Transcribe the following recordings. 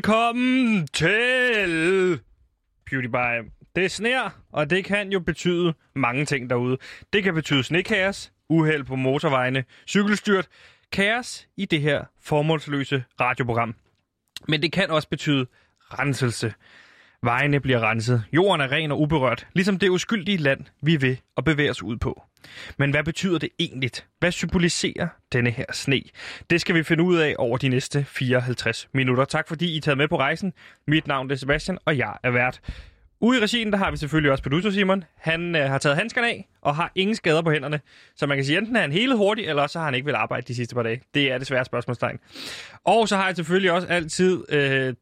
Velkommen til PewDiePie. Det sner, og det kan jo betyde mange ting derude. Det kan betyde snekaos, uheld på motorvejene, cykelstyrt, kaos i det her formålsløse radioprogram. Men det kan også betyde renselse. Vejene bliver renset, jorden er ren og uberørt, ligesom det uskyldige land, vi er ved at bevæge os ud på. Men hvad betyder det egentlig? Hvad symboliserer denne her sne? Det skal vi finde ud af over de næste 54 minutter. Tak fordi I tager med på rejsen. Mit navn er Sebastian, og jeg er vært. Ude i regien, der har vi selvfølgelig også producer Simon. Han øh, har taget handskerne af og har ingen skader på hænderne. Så man kan sige, enten er han hele hurtig, eller også så har han ikke vil arbejde de sidste par dage. Det er desværre et spørgsmålstegn. Og så har jeg selvfølgelig også altid øh,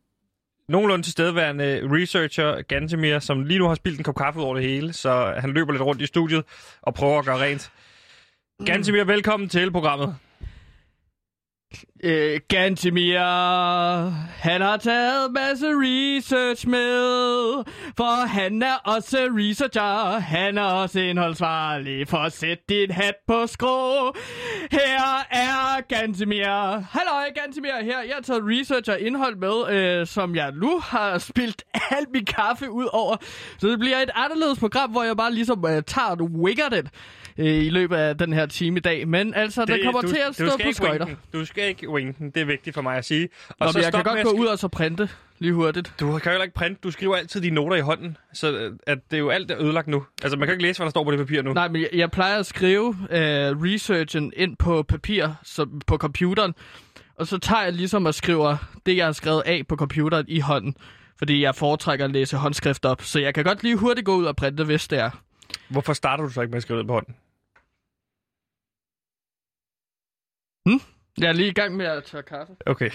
nogenlunde tilstedeværende researcher Gantemir, som lige nu har spildt en kop kaffe ud over det hele, så han løber lidt rundt i studiet og prøver at gøre rent. Mm. Gantemir, velkommen til programmet. Øh, Gantemir, han har taget masse research med, for han er også researcher. Han er også indholdsvarlig, for sæt din hat på skrå. Her er Gantemir. Hallo, Gantemir her. Jeg har taget research og indhold med, øh, som jeg nu har spildt alt min kaffe ud over. Så det bliver et anderledes program, hvor jeg bare ligesom øh, tager og wigger det øh, i løbet af den her time i dag. Men altså, det, den kommer til at stå på ikke skøjter. winken. Du skal ikke winken, det er vigtigt for mig at sige. Og Nå, men jeg kan stop med godt at gå sk- ud og så printe lige hurtigt. Du kan jo heller ikke printe, du skriver altid dine noter i hånden, så øh, at det er jo alt er ødelagt nu. Altså, man kan jo ikke læse, hvad der står på det papir nu. Nej, men jeg, jeg plejer at skrive øh, researchen ind på papir så, på computeren, og så tager jeg ligesom og skriver det, jeg har skrevet af på computeren i hånden. Fordi jeg foretrækker at læse håndskrift op, så jeg kan godt lige hurtigt gå ud og printe, hvis det er. Hvorfor starter du så ikke med at skrive det på hånden? Hm? Jeg er lige i gang med at tørre kaffe. Okay.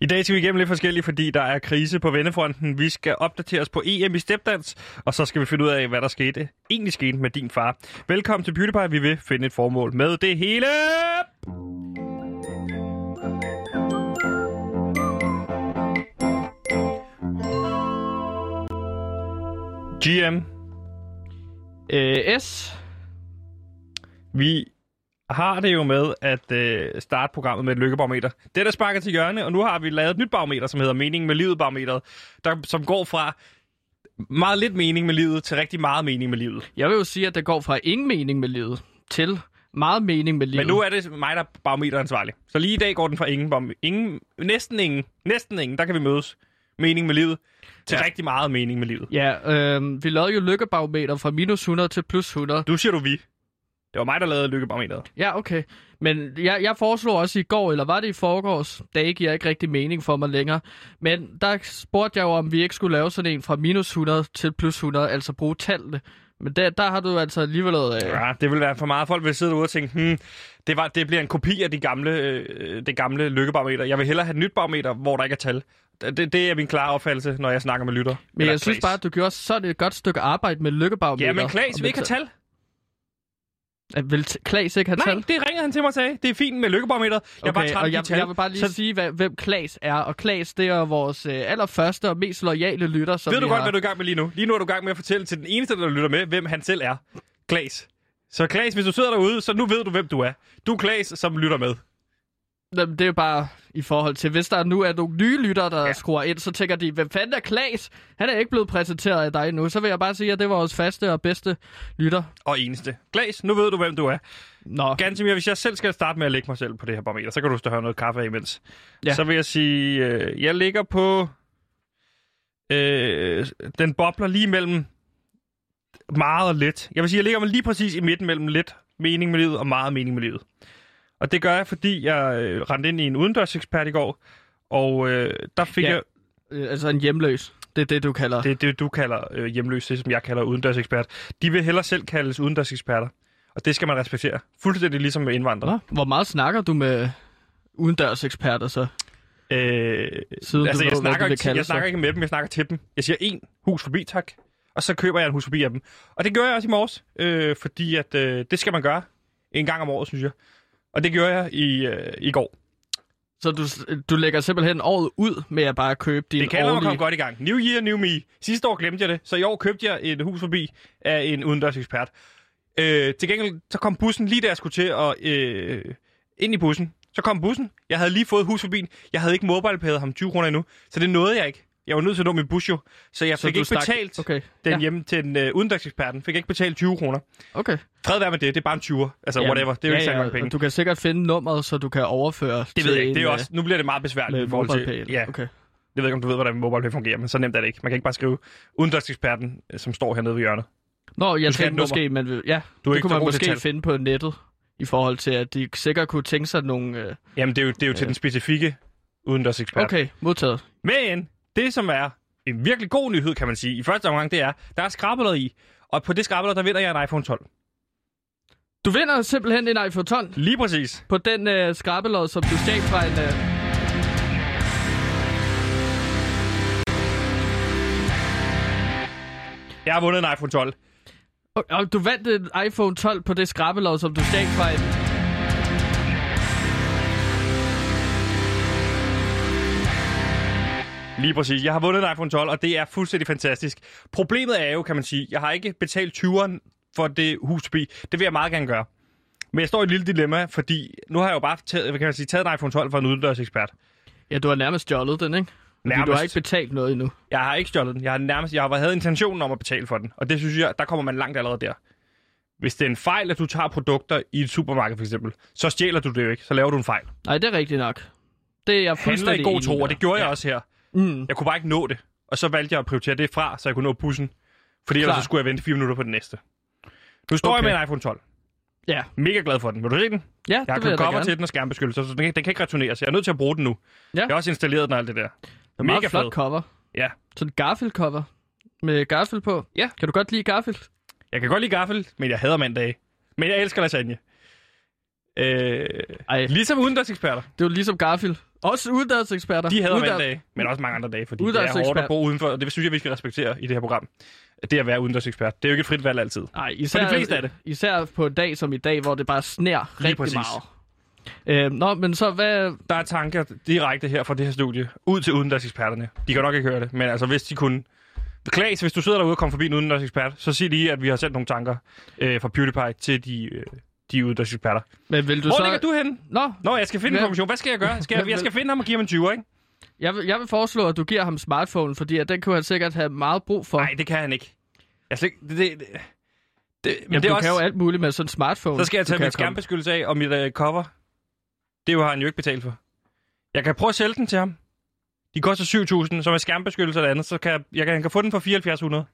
I dag skal vi igennem lidt forskelligt, fordi der er krise på vennefronten. Vi skal opdateres på EM i stepdans, og så skal vi finde ud af, hvad der skete. egentlig skete med din far. Velkommen til PewDiePie. Vi vil finde et formål med det hele. GM, Øh, S. vi har det jo med at øh, starte programmet med et lykkebarometer. Det er sparket til hjørne, og nu har vi lavet et nyt barometer, som hedder Mening med livet barometeret, der, som går fra meget lidt mening med livet til rigtig meget mening med livet. Jeg vil jo sige, at der går fra ingen mening med livet til meget mening med livet. Men nu er det mig, der er barometeransvarlig. Så lige i dag går den fra ingen, barom- ingen næsten ingen, næsten ingen, der kan vi mødes. Mening med livet til ja. rigtig meget mening med livet. Ja, øh, vi lavede jo lykkebarometer fra minus 100 til plus 100. Du siger du vi. Det var mig, der lavede lykkebarometeret. Ja, okay. Men jeg, jeg foreslog også i går, eller var det i forgårs, det giver ikke rigtig mening for mig længere. Men der spurgte jeg jo, om vi ikke skulle lave sådan en fra minus 100 til plus 100, altså bruge tallene. Men der, der har du altså alligevel... Øh, Ja, det vil være for meget. Folk vil sidde derude og tænke, hmm, det, var, det bliver en kopi af de gamle, øh, det gamle lykkebarometer. Jeg vil hellere have et nyt barometer, hvor der ikke er tal. Det, det er min klare opfattelse, når jeg snakker med lytter. men jeg synes bare, at du gjorde sådan et godt stykke arbejde med lykkebarometer. Ja, men Klaas vil ikke have tal. tal. Vil t- Klaas ikke have Nej, tal? det ringede han til mig og sagde. Det er fint med lykkebarometeret. Jeg er bare træt af og de jeg, tal. jeg vil bare lige Så så... sige, hvad, hvem Klaas er. Og Klaas, det er vores øh, allerførste og mest loyale lytter, som ved du vi godt, har. hvad du er i gang med lige nu? Lige nu er du i gang med at fortælle til den eneste, der lytter med, hvem han selv er. Klaas. Så Klaas, hvis du sidder derude, så nu ved du, hvem du er. Du er Klaas, som lytter med. Jamen, det er jo bare i forhold til, hvis der nu er nogle nye lyttere, der Ja. ja. skruer ind, så tænker de, hvem fanden er Klaas? Han er ikke blevet præsenteret af dig endnu. Så vil jeg bare sige, at det var vores faste og bedste lytter. Og eneste. Klaas, nu ved du, hvem du er. Nå, Gansimir, hvis jeg selv skal starte med at lægge mig selv på det her barometer, så kan du stå og have noget kaffe af imens. Ja. Ja. Så vil jeg sige, øh, jeg ligger på... Øh, den bobler lige mellem meget og lidt. Jeg vil sige, jeg ligger mig lige præcis i midten mellem lidt mening med livet og meget mening med livet. Og det gør jeg, fordi jeg øh, rendte ind i en udendørsekspert i går, og øh, der fik ja. Ja. jeg øh, altså en hjemløs. Det er det, du kalder. Det... det, det du kalder øh, hjemløs, det som jeg kalder udendørsekspert. De vil hellere selv kaldes udendørseksperter, og det skal man respektere. Fuldstændig ligesom med indvandrere. Nå, hvor meget snakker du med udendørseksperter så? Øh, Siden altså, du jeg ved, hvad snakker, de vil ikke, kalde jeg snakker sig. ikke med dem, jeg snakker til dem. Jeg siger en hus forbi, tak. Og så køber jeg en hus forbi af dem. Og det gjorde jeg også i morges, øh, fordi at, øh, det skal man gøre en gang om året, synes jeg. Og det gjorde jeg i, øh, i går. Så du, du lægger simpelthen året ud med at bare købe din Det kan man årlige... komme godt i gang. New year, new me. Sidste år glemte jeg det, så i år købte jeg et hus forbi af en udendørsekspert. Øh, til gengæld så kom bussen lige da jeg skulle til at øh, ind i bussen. Så kom bussen. Jeg havde lige fået hus forbi. den. Jeg havde ikke mobile ham 20 kroner endnu, så det nåede jeg ikke. Jeg var nødt til at nå min bus jo, så jeg Så fik du ikke stak- betalt Okay. den ja. hjemme til den øh, udendørseksperten. Fik ikke betalt 20 kroner. okay. Fred være med det, det er bare en 20'er. Altså Jamen, whatever, det er jo ikke særlig mange penge. og Du kan sikkert finde nummeret, så du kan overføre Det ved til jeg ikke. Det er en, jo også, nu bliver det meget øh, besværligt Med i forhold MobilePay. til... eller- Ja, Okay. jeg ved ikke, om du ved, hvordan MobilePay fungerer, men så nemt er det ikke. Man kan ikke bare skrive udendørseksperten, øh, som står hernede ved hjørnet. Nå, jeg Du skal have tænkte et nummer. måske, man vil, ja, Du er det ikke kunne så man god til måske tal. finde på nettet, i forhold til, at de sikkert kunne tænke sig nogle... Øh, Jamen, det er jo, det er jo til Øh. den specifikke udendørsekspert. okay, modtaget. Men det, som er en virkelig god nyhed, kan man sige, i første omgang, det er, der er skrabelod i. Og på det skrabelod, der vinder jeg en iPhone 12. Du vinder simpelthen en iPhone 12 Lige præcis. på den øh, skrabelod, som du stjal fra en... Øh... Jeg har vundet en iPhone 12. og- Og du vandt en iPhone 12 på det skrabelod, som du stjal fra en... Lige præcis. Jeg har vundet en iPhone 12, og det er fuldstændig fantastisk. Problemet er jo, kan man sige, jeg har ikke betalt 20'eren for det hus forbi. Det vil jeg meget gerne gøre. Men jeg står i et lille dilemma, fordi nu har jeg jo bare taget, hvad kan man sige, taget en iPhone 12 fra en udendørsekspert. Ja, du har nærmest stjålet den, ikke? Fordi du har Nærmest. ikke betalt noget endnu. Jeg har ikke stjålet den. Jeg har nærmest, jeg har havde intentionen om at betale for den. Og det synes jeg, der kommer man langt allerede der. Hvis det er en fejl, at du tager produkter i et supermarked for eksempel, så stjæler du det jo ikke. Så laver du en fejl. Nej, det er rigtigt nok. Det er jeg Handler fuldstændig i god tro, enig og det gjorde jeg også her. Mm. Jeg kunne bare ikke nå det. Og så valgte jeg at prioritere det fra, så jeg kunne nå bussen. Fordi ellers Klar. så skulle jeg vente fire minutter på den næste. Nu står Okay. jeg med en iPhone 12. Ja, Mega glad for den. Vil du se den? ja Jeg har det vil købt jeg da cover gerne. til den og skærmbeskyttelse, så den kan, den kan ikke returneres. Jeg er nødt til at bruge den nu. Ja. Jeg har også installeret den og alt det der. Det er meget Mega flot fed. cover. Ja. Sådan en Garfield-cover. Med Garfield på. Ja. Kan du godt lide Garfield? Jeg kan godt lide gaffel, men jeg hader mandage. Men jeg elsker lasagne. Øh, Ej, Ligesom udendørseksperter. det er jo ligesom Garfield. Også uddannelseseksperter. De havde Uddan- mandag, men også mange andre dage, fordi det er hårdt Uddannelsesekspert. at bo udenfor, og det synes jeg, vi skal respektere i det her program. Det at være udendørsekspert, det er jo ikke et frit valg altid. Nej, især, fleste er det. især på en dag som i dag, hvor det bare sner Lige rigtig præcis. meget. Øh, nå, men så hvad... Der er tanker direkte her fra det her studie, ud til udendørseksperterne. De kan nok ikke høre det, men altså hvis de kunne... Klaas, hvis du sidder derude og kommer forbi en udendørsekspert, så sig lige, at vi har sendt nogle tanker øh, fra PewDiePie til de, øh, de udendørseksperter. Men vil du Hvor så... ligger du henne? Nå, Nå, jeg skal finde en Ja. kommission. Hvad skal jeg gøre? Skal jeg, jeg skal finde ham og give ham en 20, ikke? jeg vil, jeg vil foreslå, at du giver ham smartphone, fordi at den kunne han sikkert have meget brug for. Nej, det kan han ikke. Jeg slet, ikke- det, det, det, det, men Jamen, det er du også... kan jo alt muligt med sådan en smartphone. Så skal jeg Du tage kan mit komme- skærmbeskyttelse af og mit øh, cover. Det har han jo ikke betalt for. Jeg kan prøve at sælge den til ham. De koster 7.000, så med skærmbeskyttelse eller andet, så kan jeg, jeg kan, han kan få den for 7400.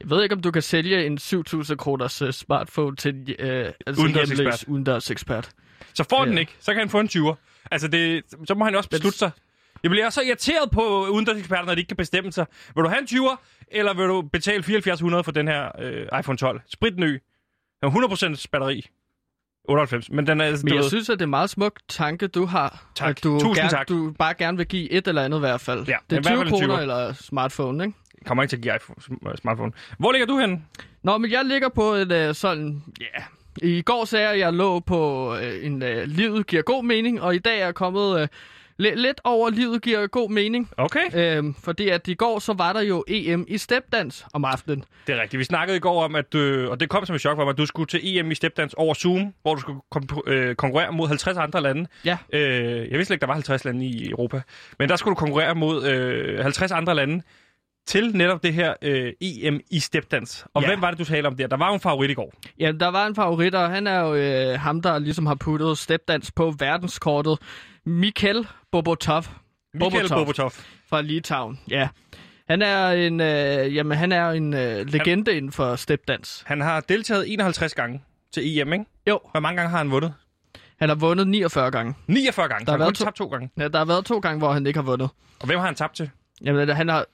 Jeg ved ikke, om du kan sælge en 7.000 kroners øh, smartphone til en øh, altså Udendørsekspert. hjemløs udendørsekspert. Så får Ja. den ikke, så kan han få en 20'er. Altså, det, så må han jo også beslutte sig. Jeg bliver så irriteret på udendørseksperterne, at de ikke kan bestemme sig. Vil du have en 20'er, eller vil du betale 7400 for den her øh, iPhone 12? Spritny. Den har 100% batteri. 98, men den er... Altså, Men du jeg ved- synes, at det er en meget smuk tanke, du har. Tak. At du Tusind gerne, tak. Du bare gerne vil give et eller andet i hvert fald. Ja, det er i hvert fald 20 en kroner 20'er. eller smartphone, ikke? kommer ikke til at give iPhone, øh, smartphone. Hvor ligger du henne? Nå, men jeg ligger på et øh, sådan... Ja... I går sagde jeg, at jeg lå på øh, en øh, livet giver god mening, og i dag er jeg kommet øh, li- lidt over livet giver god mening. Okay. Øhm, fordi at i går, så var der jo EM i stepdans om aftenen. Det er rigtigt. Vi snakkede i går om, at, øh, og det kom som et chok for mig, at du skulle til EM i stepdans over Zoom, hvor du skulle kom- øh, konkurrere mod 50 andre lande. Ja. Øh, jeg vidste slet ikke, der var 50 lande i Europa. Men der skulle du konkurrere mod øh, 50 andre lande til netop det her øh, EM i stepdans. Og Ja. ja. hvem var det, du talte om der? Der var jo en favorit i går. Ja, der var en favorit, og han er jo øh, ham, der ligesom har puttet stepdans på verdenskortet. Mikkel Bobotov. Michael Bobotov. fra Litauen. Ja. Han er en, øh, jamen, han er en øh, legende inden for stepdans. Han har deltaget 51 gange til EM, ikke? Jo, Hvor mange gange har han vundet? han har vundet 49 gange. 49 gange. Der Der har han har kun været to- tabt to gange. Ja, der har været to gange, hvor han ikke har vundet. Og hvem har han tabt til? Jamen, øh, han har,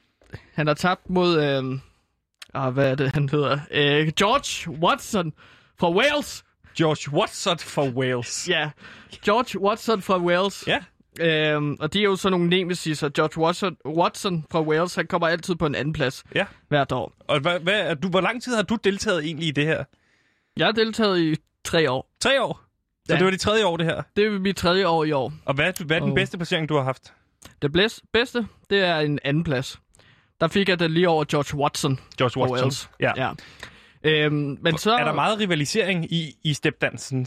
han har tabt mod... Øh, ah, hvad er det, han hedder? Øh, George Watson fra Wales. George Watson for Wales. Ja, George Watson fra Wales. Ja. Øhm, og de er jo sådan nogle nemesiser. George Watson, Watson fra Wales, han kommer altid på en anden plads Ja. hvert år. Og hvad, hvad, er du, hvor lang tid har du deltaget egentlig i det her? Jeg har deltaget i tre år. Tre år? Så Ja. ja. det var det tredje år, det her. Det er mit tredje år i år. Og hvad, er- hvad er den Og- bedste placering, du har haft? Det blæs- bedste, det er en anden plads. Der fik jeg det lige over George Watson. George Og Wales. Watson. Ja. ja. Ja. Øhm, men så... Er der meget rivalisering i, i stepdansen?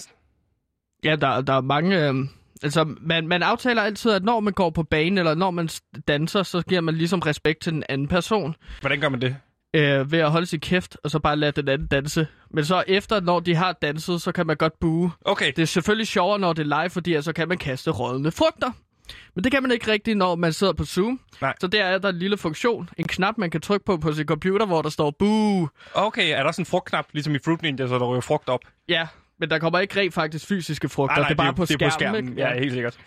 Ja, der, der er mange... Øhm, Altså, man, man aftaler altid, at når man går på banen, eller når man s- danser, så giver man ligesom respekt til den anden person. Hvordan gør man det? Øh, ved at holde sin kæft, og så bare lade den anden danse. Men så efter, når de har danset, så kan man godt buge. Okay, Det er selvfølgelig sjovere, når det er live, fordi så altså, kan man kaste rådne frugter. Men det kan man ikke rigtigt, når man sidder på Zoom. Nej. Så der er der en lille funktion, en knap, man kan trykke på på sin computer, hvor der står boo. okay. Er der sådan en frugtknap, ligesom i Fruit Ninja, så der ryger frugt op? Ja, men der kommer ikke rent faktisk fysiske frugter. det er bare på, det er skærmen, på skærmen. Ikke? Ja, helt sikkert.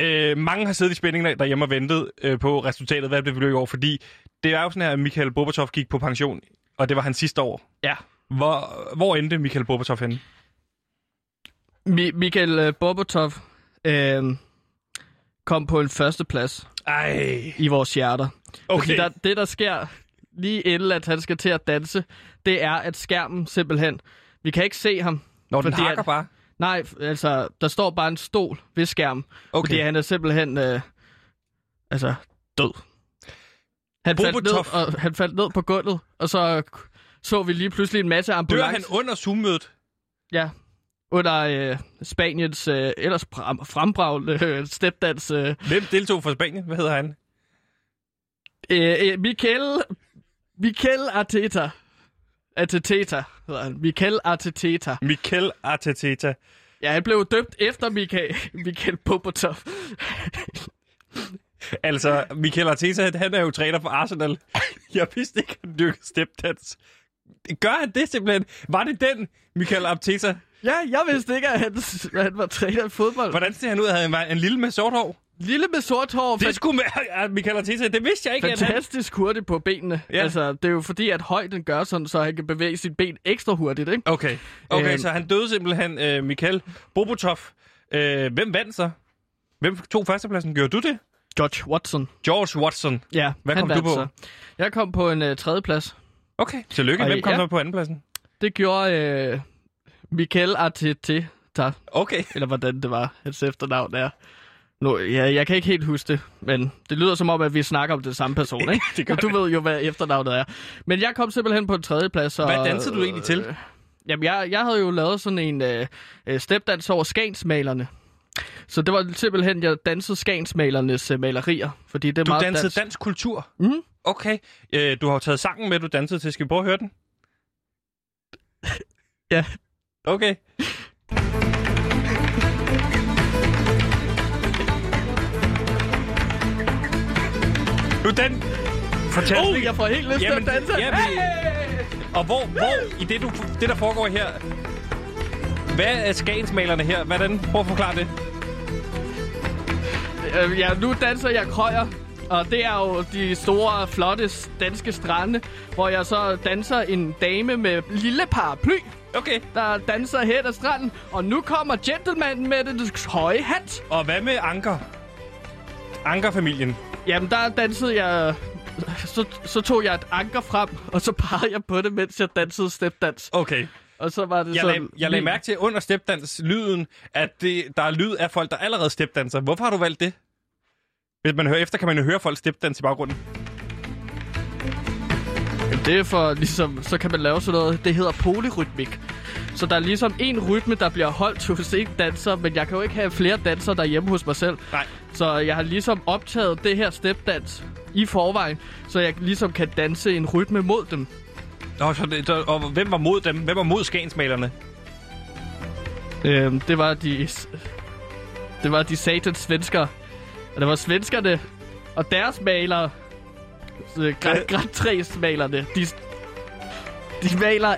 Øh, mange har siddet i spændingen derhjemme og ventet øh, på resultatet, hvad det blev i år, fordi det er jo sådan her, at Michael Gorbachev gik på pension, og det var hans sidste år. ja. Hvor, hvor endte Michael Gorbachev henne? Mi- Michael øh, Bobotov øh, kom på en førsteplads Ej, i vores hjerter. okay. Fordi der, det, der sker lige inden, at han skal til at danse, det er, at skærmen simpelthen... Vi kan ikke se ham. Når den fordi hakker at- bare. Nej, f- altså, der står bare en stol ved skærmen. Okay. Fordi han er simpelthen, øh, altså, død. Han faldt, ned, Bobotov. og, han faldt ned på gulvet, og så så vi lige pludselig en masse Dør ambulancer. han under Zoom-mødet? Ja, under øh, Spaniens øh, ellers frem, frembragende øh, stepdans. Øh, Hvem deltog for Spanien? Hvad hedder han? øh, øh, Michael, Michael Arteta. Arteta hedder han. Michael Arteta. Michael Arteteta. Ja, han blev døbt efter Michael, Michael Bobotov. Altså, Michael Arteta, han er jo træner for Arsenal. Jeg vidste ikke, han dyrkede stepdans. Gør han det simpelthen? Var det den, Michael Arteta? ja, jeg vidste ikke, at han, at han var træner i fodbold. Hvordan ser han ud? Havde han var en lille med sort hår? Lille med sort hår, Det skulle med... Michael Arteta, det vidste jeg ikke, at han... fantastisk hurtigt på benene. Ja. Ja. Altså, det er jo fordi, at højden gør sådan, så han kan bevæge sit ben ekstra hurtigt, ikke? Okay, okay Øhm. så han døde simpelthen, øh, Michael Bobotov. Øh, hvem vandt så? Hvem tog førstepladsen? Gjorde du det? George Watson. George Watson. Ja, Hvad han kom du vandt på? Jeg kom på en øh, tredjeplads. Okay, tillykke. Ej, Hvem kom ja. så på andenpladsen? Det gjorde øh, Michael Arteta, Okay. eller hvordan det var, hans efternavn er. Nu, ja, jeg kan ikke helt huske det, men det lyder som om, at vi snakker om den samme person, ikke? Det gør Men du ved jo, hvad efternavnet er. Men jeg kom simpelthen på en tredjeplads. Og, Hvad dansede du egentlig til? Øh, jamen, jeg, jeg havde jo lavet sådan en øh, øh, stepdans over Skagensmalerne. Så det var simpelthen, jeg dansede Skagensmalernes øh, malerier, fordi det er Du meget dansede dans. dansk kultur? Mhm. Okay. Øh, du har jo taget sangen med, du dansede til. Skal vi prøve at høre den? Ja. Okay. Nu den... Fantastisk. Oh, jeg får helt lyst til Jamen, at danse. jamen- Og hvor, hvor i det, du, det, der foregår her... Hvad er skagensmalerne her? Hvordan? Prøv at forklare det. Øh, ja, nu danser jeg krøjer. Og det er jo de store, flotte s- danske strande, hvor jeg så danser en dame med lille paraply, Okay. der danser hen ad stranden. Og nu kommer gentlemanen med den høje hat. Og hvad med Anker? Ankerfamilien. Jamen, der dansede jeg... Så, så tog jeg et anker frem, og så pegede jeg på det, mens jeg dansede stepdans. Okay. Og så var det Jeg sådan... lagde, jeg lagde mærke til under stepdans-lyden, at det, der er lyd af folk, der allerede stepdanser. Hvorfor har du valgt det? Hvis man hører efter, kan man jo høre folk stepdans i baggrunden. Jamen, "Hmm, det er for ligesom, så kan man lave sådan noget, det hedder polyrytmik. Så der er ligesom en rytme, der bliver holdt hos en danser, men jeg kan jo ikke have flere dansere derhjemme hos mig selv. Nej. Så jeg har ligesom optaget det her stepdans i forvejen, så jeg ligesom kan danse en rytme mod dem. Nå, så det, så, og hvem var mod dem? Hvem var mod skagensmalerne? Øhm, det var de... Det var de satans svensker. Og det var svenskerne og deres malere. Øh, græ- Græntræsmalerne. De, de maler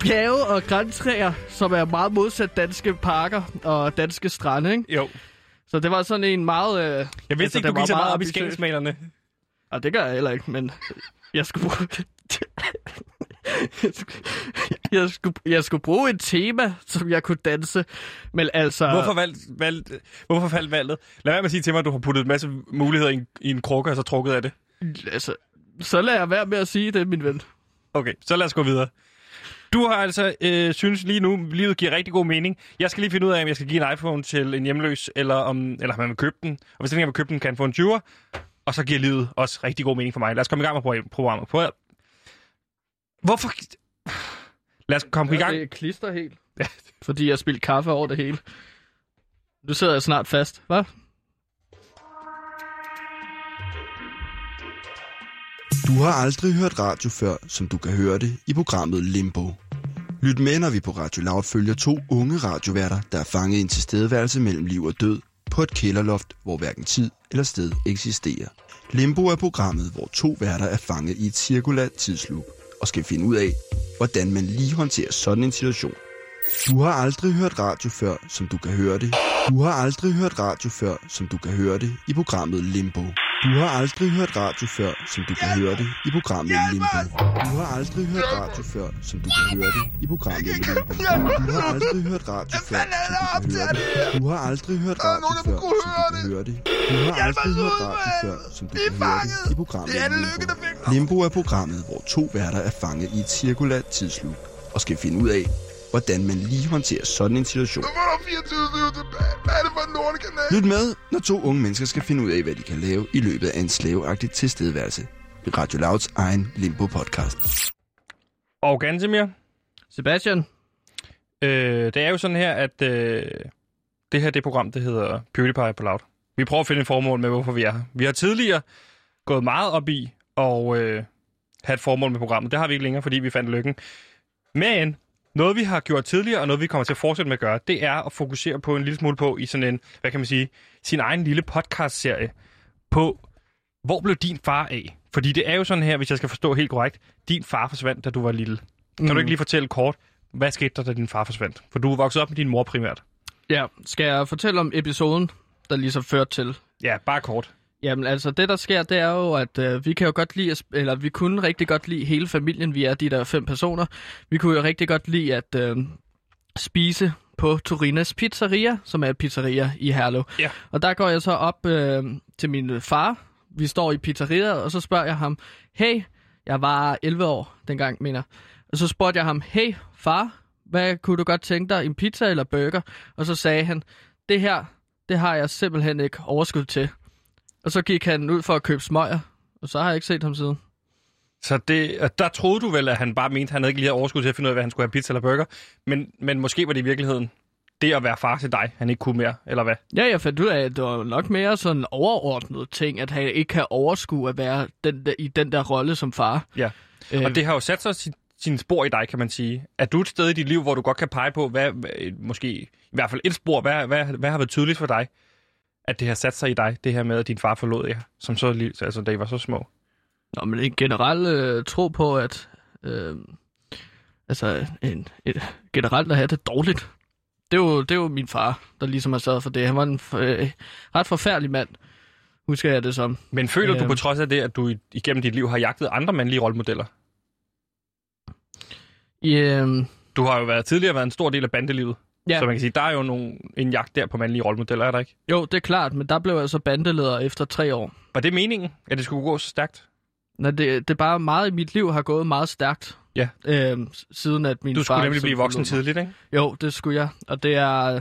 bjerge og græntræer, som er meget modsat danske parker og danske strande, ikke? Jo. Så det var sådan en meget... Øh, jeg Jeg vidste altså, ikke, du gik så meget op i skagensmalerne. Og Ah, det gør jeg heller ikke, men jeg skulle bruge... jeg, skulle, jeg, skulle, jeg skulle bruge et tema, som jeg kunne danse. Men altså... Ah. Hvorfor, valg, valg, hvorfor faldt valget? Lad være med at sige til mig, at du har puttet en masse muligheder i en, i en krukke, og så trukket af det. Altså, så lader jeg være med at sige det, min ven. Okay, så lad os gå videre. Du har altså øh, synes lige nu, livet giver rigtig god mening. Jeg skal lige finde ud af, om jeg skal give en iPhone til en hjemløs, eller om eller om man vil købe den. Og hvis ikke man vil købe den, kan han få en 20'er. Og så giver livet også rigtig god mening for mig. Lad os komme i gang med pro- programmet. Prøv at... Hvorfor... Lad os komme i gang. Det klister helt. Fordi jeg spildte kaffe over det hele. Nu sidder jeg snart fast, hva'? Du har aldrig hørt radio før, som du kan høre det i programmet Limbo. Lyt med, når vi på Radio Loud følger to unge radioværter, der er fanget i en tilstedeværelse mellem liv og død på et kælderloft, hvor hverken tid eller sted eksisterer. Limbo er programmet, hvor to værter er fanget i et cirkulært tidsloop og skal finde ud af, hvordan man lige håndterer sådan en situation. Du har aldrig hørt radio før, som du kan høre det. Du har aldrig hørt radio før, som du kan høre det i programmet Limbo. Du har aldrig hørt radio før, som du kan høre det i programmet Limbo. Du har aldrig hørt radio før, som du kan høre det i programmet Limbo. Du har aldrig hørt radio før, som du kan høre det. Du har aldrig hørt radio før, som du kan høre det. Du har aldrig hørt radio før, som du kan høre det i programmet Limbo. Limbo er programmet, hvor to værter er fanget i et cirkulært tidsloop og skal finde ud af, hvordan man lige håndterer sådan en situation. Hvor er der 24 timer tilbage? Hvad er det for en lortekanal? Lyt med, når to unge mennesker skal finde ud af, hvad de kan lave i løbet af en slaveagtig tilstedeværelse. I Radio Louds egen Limbo-podcast. Og Gantemir, Sebastian? øh, det er jo sådan her, at øh, det her det program, det hedder PewDiePie på Loud. Vi prøver at finde et formål med, hvorfor vi er her. Vi har tidligere gået meget op i og øh, have et formål med programmet. Det har vi ikke længere, fordi vi fandt lykken. Men noget, vi har gjort tidligere, og noget, vi kommer til at fortsætte med at gøre, det er at fokusere på en lille smule på i sådan en, hvad kan man sige, sin egen lille podcast-serie på, hvor blev din far af? Fordi det er jo sådan her, hvis jeg skal forstå helt korrekt, din far forsvandt, da du var lille. Kan mm. du ikke lige fortælle kort, hvad skete der, da din far forsvandt? For du voksede op med din mor primært. Ja, skal jeg fortælle om episoden, der ligesom førte til? Ja, bare kort. Jamen altså, det der sker, det er jo, at øh, vi kan jo godt lide, at sp- eller vi kunne rigtig godt lide hele familien, vi er de der fem personer. Vi kunne jo rigtig godt lide at øh, spise på Turinas Pizzeria, som er et pizzeria i Herlev. Ja. Og der går jeg så op øh, til min øh, far. Vi står i pizzeriaet, og så spørger jeg ham, hey, jeg var 11 år dengang, mener. Og så spurgte jeg ham, hey far, hvad kunne du godt tænke dig, en pizza eller burger? Og så sagde han, det her, det har jeg simpelthen ikke overskud til. Og så gik han ud for at købe smøger, og så har jeg ikke set ham siden. Så det, og der troede du vel, at han bare mente, at han havde ikke lige havde overskud til at finde ud af, hvad han skulle have pizza eller burger. Men, men måske var det i virkeligheden det at være far til dig, han ikke kunne mere, eller hvad? Ja, jeg fandt ud af, at det var nok mere sådan overordnet ting, at han ikke kan overskue at være den der, i den der rolle som far. Ja. Øh, Og det har jo sat sig sin, sine spor i dig, kan man sige. Er du et sted i dit liv, hvor du godt kan pege på, hvad, hvad- måske i hvert fald et spor, hvad, hvad, hvad har været tydeligt for dig, at det har sat sig i dig, det her med, at din far forlod jer, som så, lille- altså, da I var så små? Nå, men en generel øh, tro på, at øh, altså en, et, generelt at have det dårligt. Det er, jo, det er jo min far, der ligesom har sørget for det. Han var en øh, ret forfærdelig mand, husker jeg det som. Men føler du Øhm. på trods af det, at du i- igennem dit liv har jagtet andre mandlige rollemodeller? I, øh, Du har jo været, tidligere været en stor del af bandelivet, Ja. ja. så man kan sige, der er jo nogle, en jagt der på mandlige rollemodeller, er der ikke? jo, det er klart, men der blev jeg så bandeleder efter tre år. Var det meningen, at det skulle gå så stærkt? Nå, det, det er bare meget i mit liv har gået meget stærkt. Ja. Øh, siden at min Du far skulle nemlig blive forlod voksen mig. tidligt, ikke? Jo, det skulle jeg. Og det er...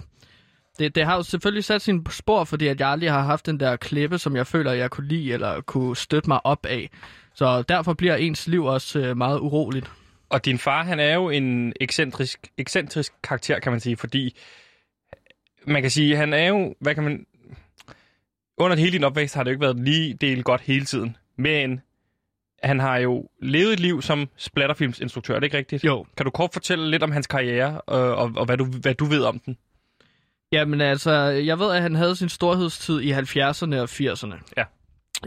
Det, det har jo selvfølgelig sat sine spor, fordi at jeg aldrig har haft den der klippe, som jeg føler, jeg kunne lide eller kunne støtte mig op af. Så derfor bliver ens liv også øh, meget uroligt. Og din far, han er jo en ekscentrisk, ekscentrisk karakter, kan man sige, fordi man kan sige, han er jo, hvad kan man... Under hele din opvækst har det jo ikke været lige del godt hele tiden, men han har jo levet et liv som splatterfilmsinstruktør, er det ikke rigtigt? Jo. Kan du kort fortælle lidt om hans karriere, og, og, og hvad, du, hvad du ved om den? Jamen altså, jeg ved, at han havde sin storhedstid i 70'erne og 80'erne. Ja.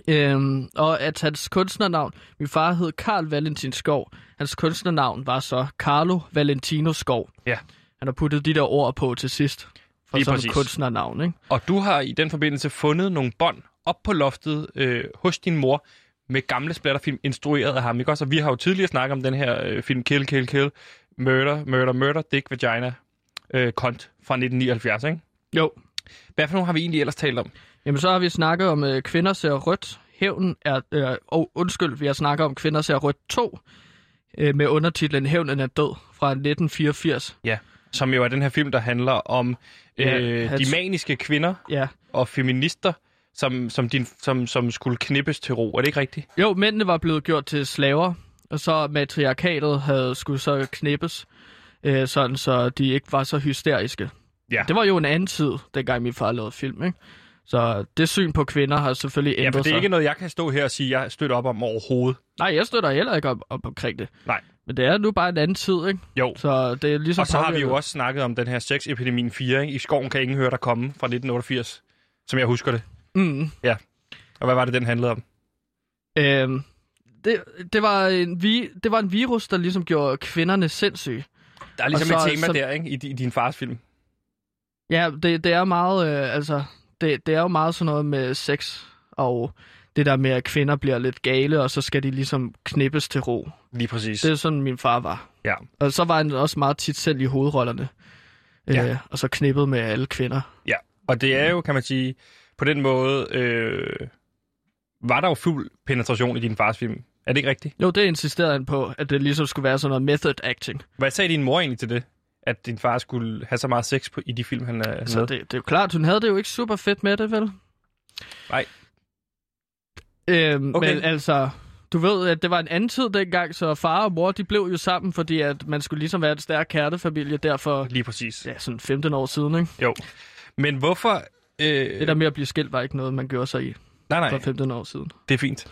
Øhm, og at hans kunstnernavn, min far hed Karl Valentin Skov, hans kunstnernavn var så Carlo Valentino Skov. Ja. Han har puttet de der ord på til sidst, for Lige sådan et præcis. kunstnernavn, ikke? Og du har i den forbindelse fundet nogle bånd op på loftet øh, hos din mor med gamle splatterfilm instrueret af ham, ikke også? Og vi har jo tidligere snakket om den her øh, film Kill, Kill, Kill, Murder, Murder, Murder, Dick, Vagina, øh, Kont fra 1979, ikke? Jo, Hvad for nogle har vi egentlig ellers talt om? Jamen, så har vi snakket om øh, Kvinder ser rødt. Hævnen er... Øh, og undskyld, vi har snakket om Kvinder ser rødt 2, øh, med undertitlen Hævnen er død fra 1984. Ja. Som jo er den her film, der handler om øh, Ja, ja, hans- de maniske kvinder Ja. og feminister, som, som, din, som, som skulle knippes til ro. Er det ikke rigtigt? Jo, mændene var blevet gjort til slaver, og så matriarkatet havde skulle så knippes, øh, sådan så de ikke var så hysteriske. Ja. Det var jo en anden tid, dengang min far lavede film, ikke? Så det syn på kvinder har selvfølgelig Ja, ændret for det er sig. ikke noget, jeg kan stå her og sige, jeg støtter op om overhovedet. Nej, jeg støtter heller ikke op, op omkring det. Nej. Men det er nu bare en anden tid, ikke? Jo. Så det er ligesom Og så har vi påvirket. jo også snakket om den her sexepidemien 4, ikke? I skoven kan ingen høre dig komme fra 1988, som jeg husker det. Mm. Og hvad var det, den handlede om? Øhm, det, det, var en vi, det var en virus, der ligesom gjorde kvinderne sindssyge. Der er ligesom Og så, så- et tema så- så... der, ikke? I, di- i din fars film. Ja, det, det er meget, øh, altså, det, det er jo meget sådan noget med sex, og det der med, at kvinder bliver lidt gale, og så skal de ligesom knippes til ro. Lige præcis. Det er sådan, min far var. Ja. Og så var han også meget tit selv i hovedrollerne. Ja. Øh, og så knippet med alle kvinder. Og det er jo, kan man sige, på den måde, øh, var der jo fuld penetration i din fars film. Er det ikke rigtigt? Jo, det insisterede han på, at det ligesom skulle være sådan noget method acting. Hvad sagde din mor egentlig til det? At din far skulle have så meget sex på, i de film, han øh, er Så med? Altså, det, det er jo klart, hun havde det jo ikke super fedt med det, vel? Nej. Øhm, Okay. okay. Men altså, du ved, at det var en anden tid dengang, så far og mor, de blev jo sammen, fordi at man skulle ligesom være en stærk kærtefamilie, derfor Lige præcis. ja, sådan 15 år siden, ikke? Jo. Men hvorfor... Øh, Det der med at blive skilt var ikke noget, man gjorde sig i nej, nej, for 15 år siden. det er fint.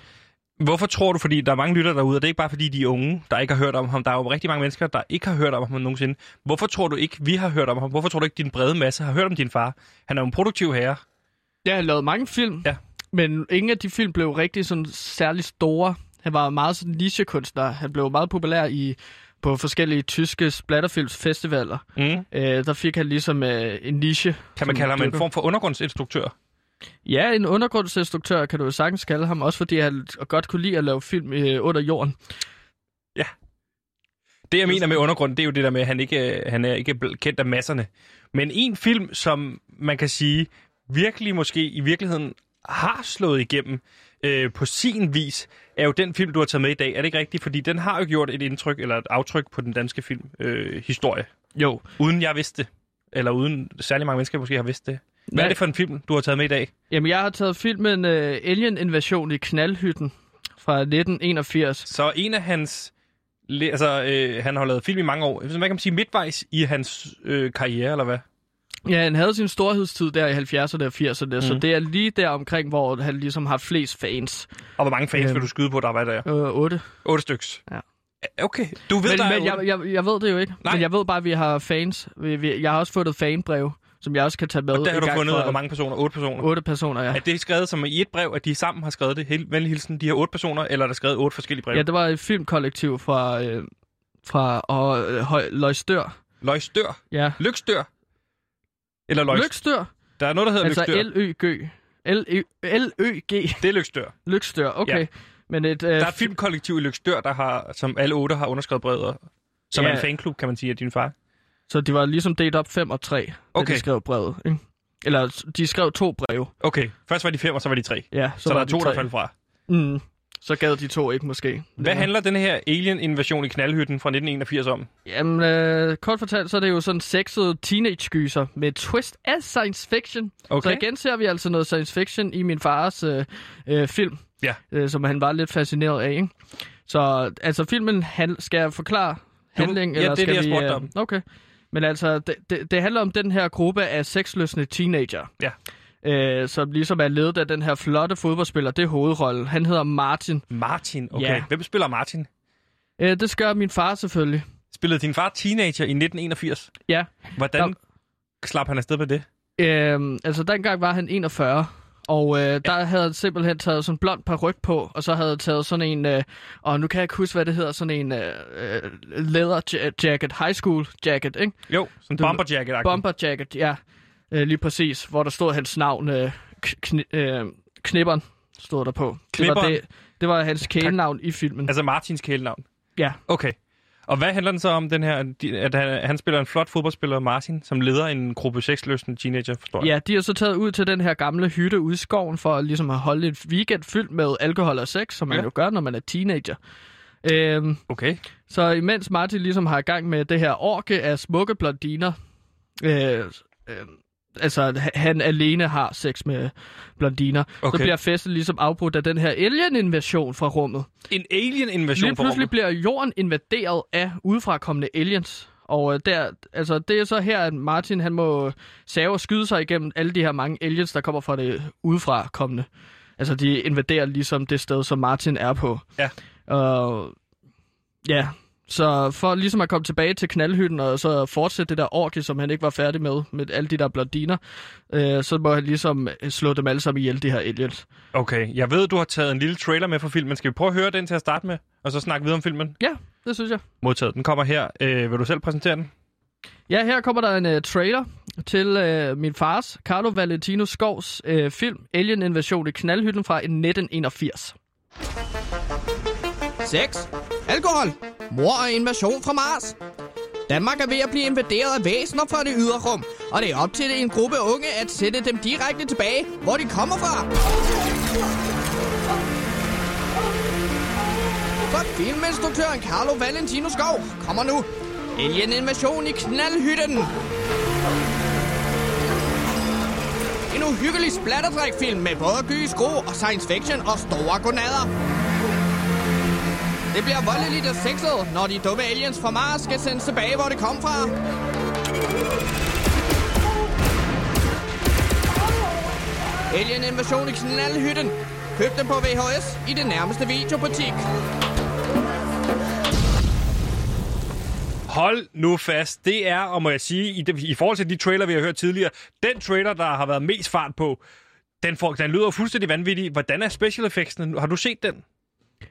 Hvorfor tror du, fordi der er mange lytter derude, og det er ikke bare fordi de er unge, der ikke har hørt om ham. Der er jo rigtig mange mennesker, der ikke har hørt om ham nogensinde. Hvorfor tror du ikke, vi har hørt om ham? Hvorfor tror du ikke, din brede masse har hørt om din far? Han er jo en produktiv herre. Ja, han lavede mange film, Ja. men ingen af de film blev rigtig sådan særlig store. Han var meget sådan nichekunstner. Han blev meget populær i på forskellige tyske splatterfilmsfestivaler. Mm. Øh, der fik han ligesom øh, en niche. Kan man som kalde ham en dykker. form for undergrundsinstruktør? Ja, en undergrundsinstruktør kan du jo sagtens kalde ham, også fordi han godt kunne lide at lave film øh, under jorden. Det, jeg mener med undergrunden, det er jo det der med, at han ikke, øh, han er ikke bl- kendt af masserne. Men en film, som man kan sige virkelig måske i virkeligheden har slået igennem øh, på sin vis, er jo den film, du har taget med i dag. Er det ikke rigtigt? Fordi den har jo gjort et indtryk eller et aftryk på den danske filmhistorie. Øh, historie. Jo. uden jeg vidste det. Eller uden særlig mange mennesker måske har vidst det. Hvad Nej. er det for en film, du har taget med i dag? Jamen, jeg har taget filmen øh, Alien Invasion i Knaldhytten fra 1981. Så en af hans... le- Altså, øh, han har lavet film i mange år. Hvad kan man sige? Midtvejs i hans øh, karriere, eller hvad? Ja, han havde sin storhedstid der i 70'erne og 80'erne, mm. så Mhm. det er lige der omkring, hvor han ligesom har flest fans. Og hvor mange fans Øhm. vil du skyde på, der var der? Øh, 8. Otte styks. Ja. Okay. Du ved, Men, der men er otte. jeg, jeg, jeg ved det jo ikke. Nej. Men jeg ved bare, at vi har fans. Vi, vi, jeg har også fundet fanbrev, som jeg også kan tage med. Og der har en du gang fundet, ud fra af, hvor mange personer? Otte personer. Otte personer, ja. Er det skrevet som i et brev, at de sammen har skrevet det? Hel- Venlig hilsen, de her otte personer, eller er der skrevet otte forskellige brev? Ja, Ja. det var et filmkollektiv fra, øh, fra og, øh, Høj, Løgstør. Løgstør. Ja. Lykstør. Eller løgstør. Løgstør? Der er noget, der hedder Altså Lykstør. L-Ø-G. L-Ø-G. Det er Lykstør. Løgstør, okay. Ja. Men et, øh, Der er et filmkollektiv i Lykstør, der har, som alle otte har underskrevet brevet, og- som Ja. er en fanklub, kan man sige, af din far. Så de var ligesom delt op 5 og 3, okay. Okay. de skrev brevet. Ikke? Eller de skrev to breve. Okay, først var de fem, og så var de tre. Ja, Så, så, så der var er de to, tre. der faldt fra. Mm. Så gad de to ikke måske. Hvad handler den her alien-invasion i knaldhytten fra 1981 om? Jamen, øh, kort fortalt, så er det jo sådan sexet teenage-gyser med et twist af science fiction. Okay. Så igen ser vi altså noget science fiction i min fars øh, øh, film, Ja. øh, som han var lidt fascineret af. Ikke? Så altså filmen, han, skal jeg forklare handling? ja, det er skal det, jeg vi, spurgte øh, om. Okay. Men altså, det, det, det handler om den her gruppe af sexløsne teenager. Ja. Øh, som ligesom er ledet af den her flotte fodboldspiller. Det er hovedrollen. Han hedder Martin. Martin, okay. Ja. Hvem spiller Martin? Øh, det skør min far selvfølgelig. Spillede din far teenager i 1981? Ja. Hvordan slap han afsted med det? Øhm, altså, dengang var han 41, og øh, der havde han simpelthen taget sådan en blond peruk på, og så havde han taget sådan en, øh, og nu kan jeg ikke huske, hvad det hedder, sådan en øh, øh, leather ja- jacket, high school jacket, ikke? Jo, sådan en Du- bomberjacket Bomber jacket, ja, øh, lige præcis, hvor der stod hans navn, øh, kn- kn- øh, Knipperen stod der på. Det var, Knipperen? det, det var hans kælenavn i filmen. Altså Martins kælenavn. Ja. Okay. Og hvad handler den så om, den her, de- at han, han spiller en flot fodboldspiller, Martin, som leder en gruppe sexløsende teenager, forstår jeg? Ja, de er så taget ud til den her gamle hytte ude i skoven for at, ligesom at holde et weekend fyldt med alkohol og sex, som man Ja. jo gør, når man er teenager. Øhm, Okay. Så imens Martin ligesom har i gang med det her orke af smukke blondiner, øh, øh, altså h- han alene har sex med blondiner, okay. Okay. så bliver festen ligesom afbrudt af den her alien-invasion fra rummet. En alien-invasion Lige fra pludselig rummet. bliver jorden invaderet af udefrakommende aliens. Og øh, der, altså, det er så her, at Martin han må save og skyde sig igennem alle de her mange aliens, der kommer fra det udefra kommende. Altså, de invaderer ligesom det sted, som Martin er på. Ja. Og ja, så for ligesom at komme tilbage til knaldhytten og så fortsætte det der orke, som han ikke var færdig med, med alle de der blondiner, øh, så må han ligesom øh, slå dem alle sammen ihjel, de her aliens. Okay, jeg ved, du har taget en lille trailer med fra filmen. Skal vi prøve at høre den til at starte med, og så snakke videre om filmen? Ja, det synes jeg. Modtaget. Den kommer her. Øh, vil du selv præsentere den? Ja, her kommer der en uh, trailer til uh, min fars, Carlo Valentino Skovs uh, film Alien Invasion i knaldhytten fra 1981. Sex, alkohol, mor og invasion fra Mars. Danmark er ved at blive invaderet af væsener fra det ydre rum, og det er op til en gruppe unge at sætte dem direkte tilbage, hvor de kommer fra. For filminstruktøren Carlo Valentino Skov kommer nu. Alien invasion i knaldhytten. En uhyggelig splatterdrækfilm med både gys, gro og science fiction og store gonader. Det bliver voldeligt og sexet, når de dumme aliens fra Mars skal sendes tilbage, hvor det kom fra. Alien Invasion i knaldhytten. Køb den på VHS i den nærmeste videobutik. Hold nu fast. Det er, og må jeg sige, i, i forhold til de trailer, vi har hørt tidligere, den trailer, der har været mest fart på, den, får, den lyder fuldstændig vanvittig. Hvordan er special effects'ene? Har du set den?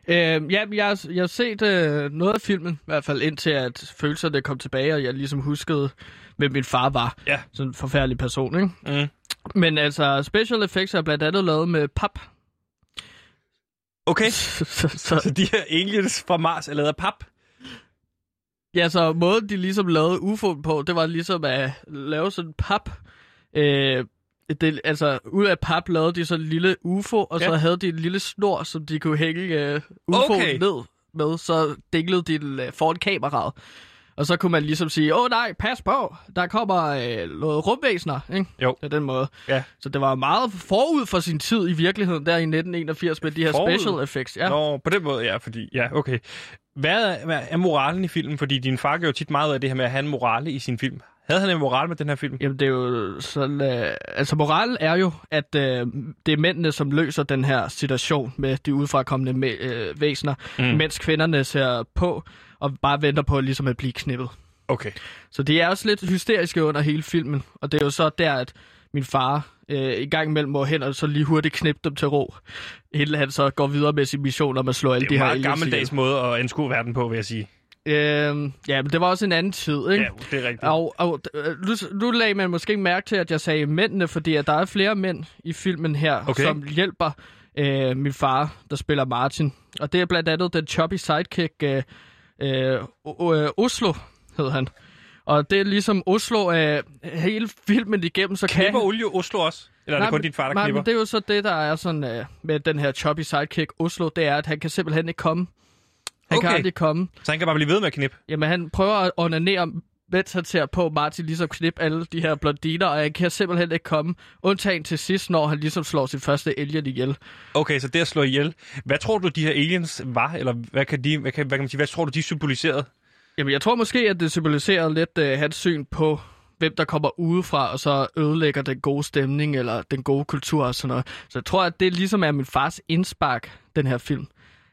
Øh, ja, jeg, har- jeg har set øh, noget af filmen, i hvert fald indtil at følelserne kom tilbage, og jeg ligesom huskede, hvem min far var. Ja. Sådan en forfærdelig person, ikke? Mm. Men altså, special effects er blandt andet lavet med pap. Okay. så, så, så, Så de her aliens fra Mars er lavet af pap. Ja, så måden de ligesom lavede UFO'en på, det var ligesom at lave sådan en pap. Øh, det, altså, ud af pap lavede de sådan en lille UFO, og ja. så Ja. havde de en lille snor, som de kunne hænge øh, UFO'en Okay. okay. ned med. Så dinglede de den øh, foran kameraet. Og så kunne man ligesom sige, åh nej, pas på, der kommer øh, noget rumvæsener, ikke? Jo. På den måde. Ja. Så det var meget forud for sin tid i virkeligheden, der i 1981, med de her Forud? special effects. Ja. Ja. Nå, på den måde, ja, fordi... Ja, okay. Hvad er, hvad er moralen i filmen? Fordi din far gør jo tit meget ud af det her med at have en morale i sin film. Havde han en moral med den her film? Jamen, det er jo sådan... Øh, altså, moralen er jo, at øh, det er mændene, som løser den her situation med de udefrakommende mæ- øh, væsener, mm. mens kvinderne ser på og bare venter på ligesom at blive knippet. Okay. Så de er også lidt hysteriske under hele filmen, og det er jo så der, at min far øh, i gang imellem må hen og så lige hurtigt knippe dem til ro, inden han så går videre med sin mission om at slå alle Det er de en her meget aliens gammeldags måde at anskue verden på, vil jeg sige. ihjel. Øh, ja, men det var også en anden tid, ikke? Ja, det er rigtigt. Og, og øh, nu, nu lagde man måske mærke til, at jeg sagde mændene, fordi at der er flere mænd i filmen her, Okay. okay. som hjælper øh, min far, der spiller Martin. Og det er blandt andet den choppy sidekick øh, øh, O- øh, Oslo, hed han. Og det er ligesom Oslo øh, hele filmen igennem, så Knipper kan... olie Oslo også? Eller er det kun men- din far, der nej, knipper? men det er jo så det, der er sådan øh, med den her choppy sidekick Oslo, det er, at han kan simpelthen ikke komme. Han Okay. okay. kan aldrig komme. Så han kan bare blive ved med at knippe? Jamen, han prøver at onanere mens han ser på Martin ligesom knip alle de her blondiner, og han kan simpelthen ikke komme. Undtagen til sidst, når han ligesom slår sin første alien ihjel. Okay, så det at slå ihjel. Hvad tror du, de her aliens var? Eller hvad kan, de, hvad kan, hvad kan man sige, hvad tror du, de symboliserede? Jamen, jeg tror måske, at det symboliserer lidt øh, hans syn på, hvem der kommer udefra, og så ødelægger den gode stemning, eller den gode kultur og sådan noget. Så jeg tror, at det ligesom er min fars indspark, den her film.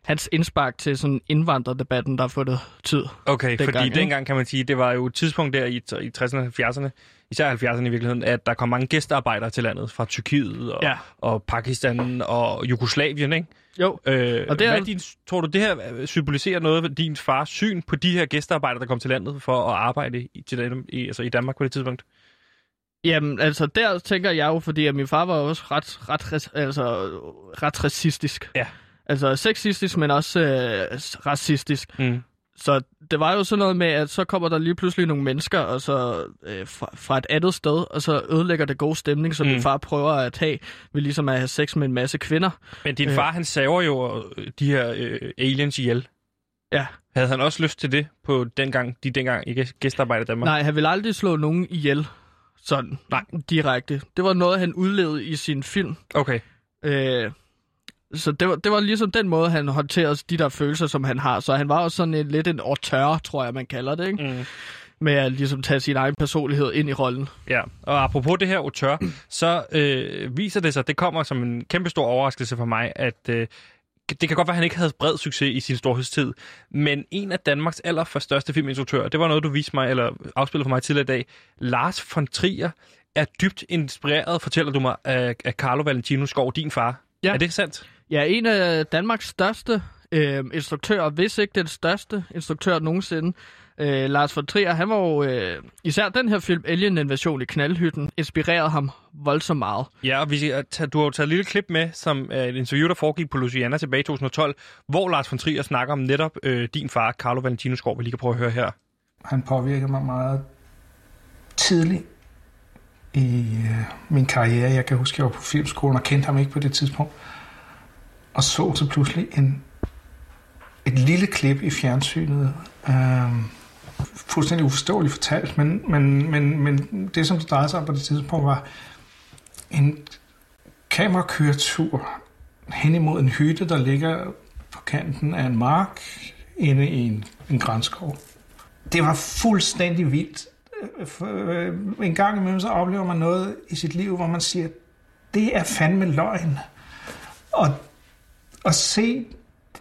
Hans indspark til sådan indvandrerdebatten, der har fundet tid. Okay, Dengang, fordi ikke? dengang kan man sige, det var jo et tidspunkt der i, i 60'erne og 70'erne, især 70'erne i virkeligheden, at der kom mange gæstearbejdere til landet fra Tyrkiet og, Ja. og Pakistan og Jugoslavien, ikke? Jo, Øh, og det Og det er- er... hvad din, tror du, det her øh, symboliserer noget ved din fars syn på de her gæstearbejdere, der kom til landet for at arbejde i, til, Dan- i, altså i Danmark på det tidspunkt? Jamen, altså, der tænker jeg jo, fordi at min far var jo også ret, ret, res- altså, ret racistisk. Ja. Altså sexistisk, men også øh, s- racistisk. Mm. Så det var jo sådan noget med, at så kommer der lige pludselig nogle mennesker og så øh, fra, fra et andet sted, og så ødelægger det gode stemning, som Mm. mm. min far prøver at have, ved ligesom at have sex med en masse kvinder. Men din Øh. far, han saver jo øh, de her øh, aliens ihjel. Ja. Havde han også lyst til det på dengang, de dengang ikke gæstearbejdere i Danmark? Nej, han ville aldrig slå nogen ihjel. Sådan. Nej. Direkte. Det var noget, han udlevede i sin film. Okay. Øh, så det var, det var ligesom den måde, han håndterede de der følelser, som han har. Så han var også sådan en, lidt en auteur, tror jeg, man kalder det. Ikke? Mm. med at ligesom tage sin egen personlighed ind i rollen. Ja, og apropos det her auteur, så øh, viser det sig, det kommer som en kæmpe stor overraskelse for mig, at øh, det kan godt være, at han ikke havde bred succes i sin storhedstid, men en af Danmarks allerførstørste filminstruktører, det var noget, du viste mig, eller afspillede for mig tidligere i dag, Lars von Trier er dybt inspireret, fortæller du mig, af, af Carlo Valentino Skov, din far. Ja. Er det sandt? Ja, en af Danmarks største øh, instruktører, hvis ikke den største instruktør nogensinde, øh, Lars von Trier, han var jo øh, især den her film, Alien Invasion i Knaldhytten, inspirerede ham voldsomt meget. Ja, og vi, siger- at tage- du har jo taget et lille klip med, som er et interview, der foregik på Luciana tilbage i 2012, hvor Lars von Trier snakker om netop øh, din far, Carlo Valentino Skov, vi lige kan prøve at høre her. Han påvirkede mig meget tidligt i øh, min karriere. Jeg kan huske, at jeg var på filmskolen og kendte ham ikke på det tidspunkt. Og så så pludselig en, et lille klip i fjernsynet. Øh, fuldstændig uforståeligt fortalt, men, men, men, men det, som det drejede sig om på det tidspunkt, var en kamerakøretur hen imod en hytte, der ligger på kanten af en mark inde i en, en grænskov det var fuldstændig vildt. Øh, for, øh, En gang imellem så oplever man noget i sit liv, hvor man siger, det er fandme løgn. Og at se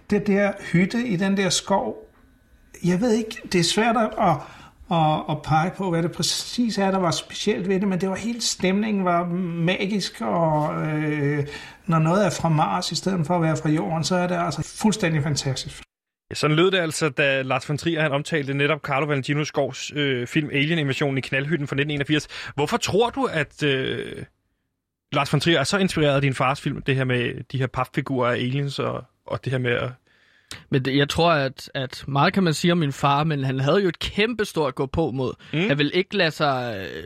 det der hytte i den der skov, jeg ved ikke, det er svært at, at, at, at pege på, hvad det præcis er, der var specielt ved det, men det var helt stemningen var magisk, og øh, når noget er fra Mars i stedet for at være fra Jorden, så er det altså fuldstændig fantastisk. Ja, sådan lød det altså, da Lars von Trier han omtalte netop Carlo Valentino Skovs øh, film Alien Invasionen i Knaldhytten fra 1981. Hvorfor tror du, at øh, Lars von Trier er så inspireret af din fars film, det her med de her papfigurer af aliens og, og det her med at... Men det, jeg tror, at, at meget kan man sige om min far, men han havde jo et kæmpe stort gå på mod. Mm. Han ville ikke lade sig... Øh,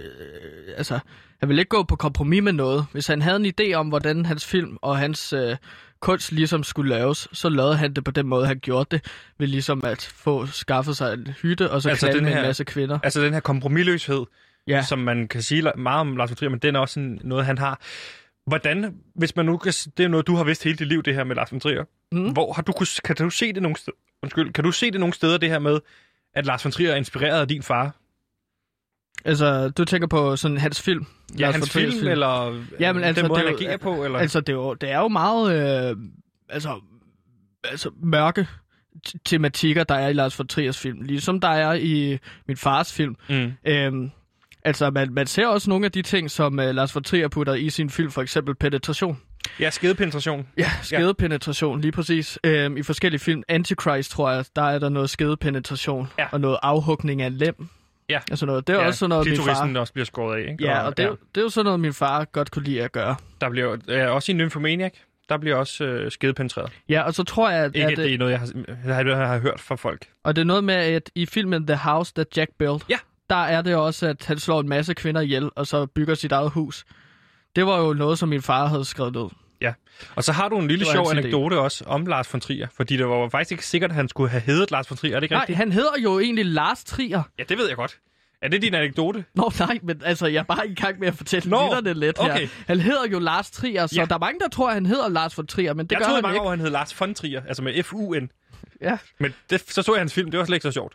altså, han ville ikke gå på kompromis med noget. Hvis han havde en idé om, hvordan hans film og hans øh, kunst ligesom skulle laves, så lavede han det på den måde, han gjorde det, ved ligesom at få skaffet sig en hytte, og Altså så altså knalde den med her- en masse kvinder. Altså den her kompromilløshed, ja. Ja. som man kan sige la- meget om Lars von Trier, men den er også sådan noget, han har. Hvordan, hvis man nu kan, s- det er noget, du har vidst hele dit liv, det her med Lars von Trier. Mm. Mm. Hvor har du, kunne s- kan du se det nogle steder, undskyld, kan du se det nogle steder, det her med, at Lars von Trier er inspireret af din far? Altså, du tænker på sådan hans film. Ja, Lars hans von Triers film, film, eller Jamen, altså, den måde, det han er jo- agerer på? Eller? Altså, det er jo, det er jo meget øh, altså, altså, mørke t- tematikker, der er i Lars von Triers film, ligesom der er i min fars film. mm. Øhm, altså, man, man ser også nogle af de ting, som øh, Lars von Trier putter i sin film, for eksempel penetration. Ja, skedepenetration. Ja, skedepenetration, lige præcis. Øhm, I forskellige film, Antichrist, tror jeg, der er der noget skedepenetration Ja. og noget afhugning af lem. Ja. Altså noget. Det er ja, ja, også sådan noget, min far... klitorisen også bliver skåret af, ikke? Ja, og det, er jo- det er jo sådan noget, min far godt kunne lide at gøre. Der bliver ja, også i Nymphomaniac, der bliver også øh, skedepenetreret. Ja, og så tror jeg, at... Ikke, at, at det er noget, jeg har, jeg har, jeg har hørt fra folk. Og det er noget med, at i filmen The House That Jack Built, Ja. der er det også, at han slår en masse kvinder ihjel, og så bygger sit eget hus. Det var jo noget, som min far havde skrevet ned. Og så har du en lille Det var sjov hans idé. anekdote også om Lars von Trier, fordi det var faktisk ikke sikkert, at han skulle have heddet Lars von Trier. Er det ikke Nej, rigtigt? han hedder jo egentlig Lars Trier. Ja, det ved jeg godt. Er det din anekdote? Nå nej, men altså, jeg er bare i gang med at fortælle Nå, lytterne lidt okay. her. Han hedder jo Lars Trier, så Ja. ja. der er mange, der tror, at han hedder Lars von Trier, men det jeg gør troede i han mange ikke. år, han hed Lars von Trier, altså med F-U-N. Ja. Men det, så så jeg hans film, det var slet ikke så sjovt.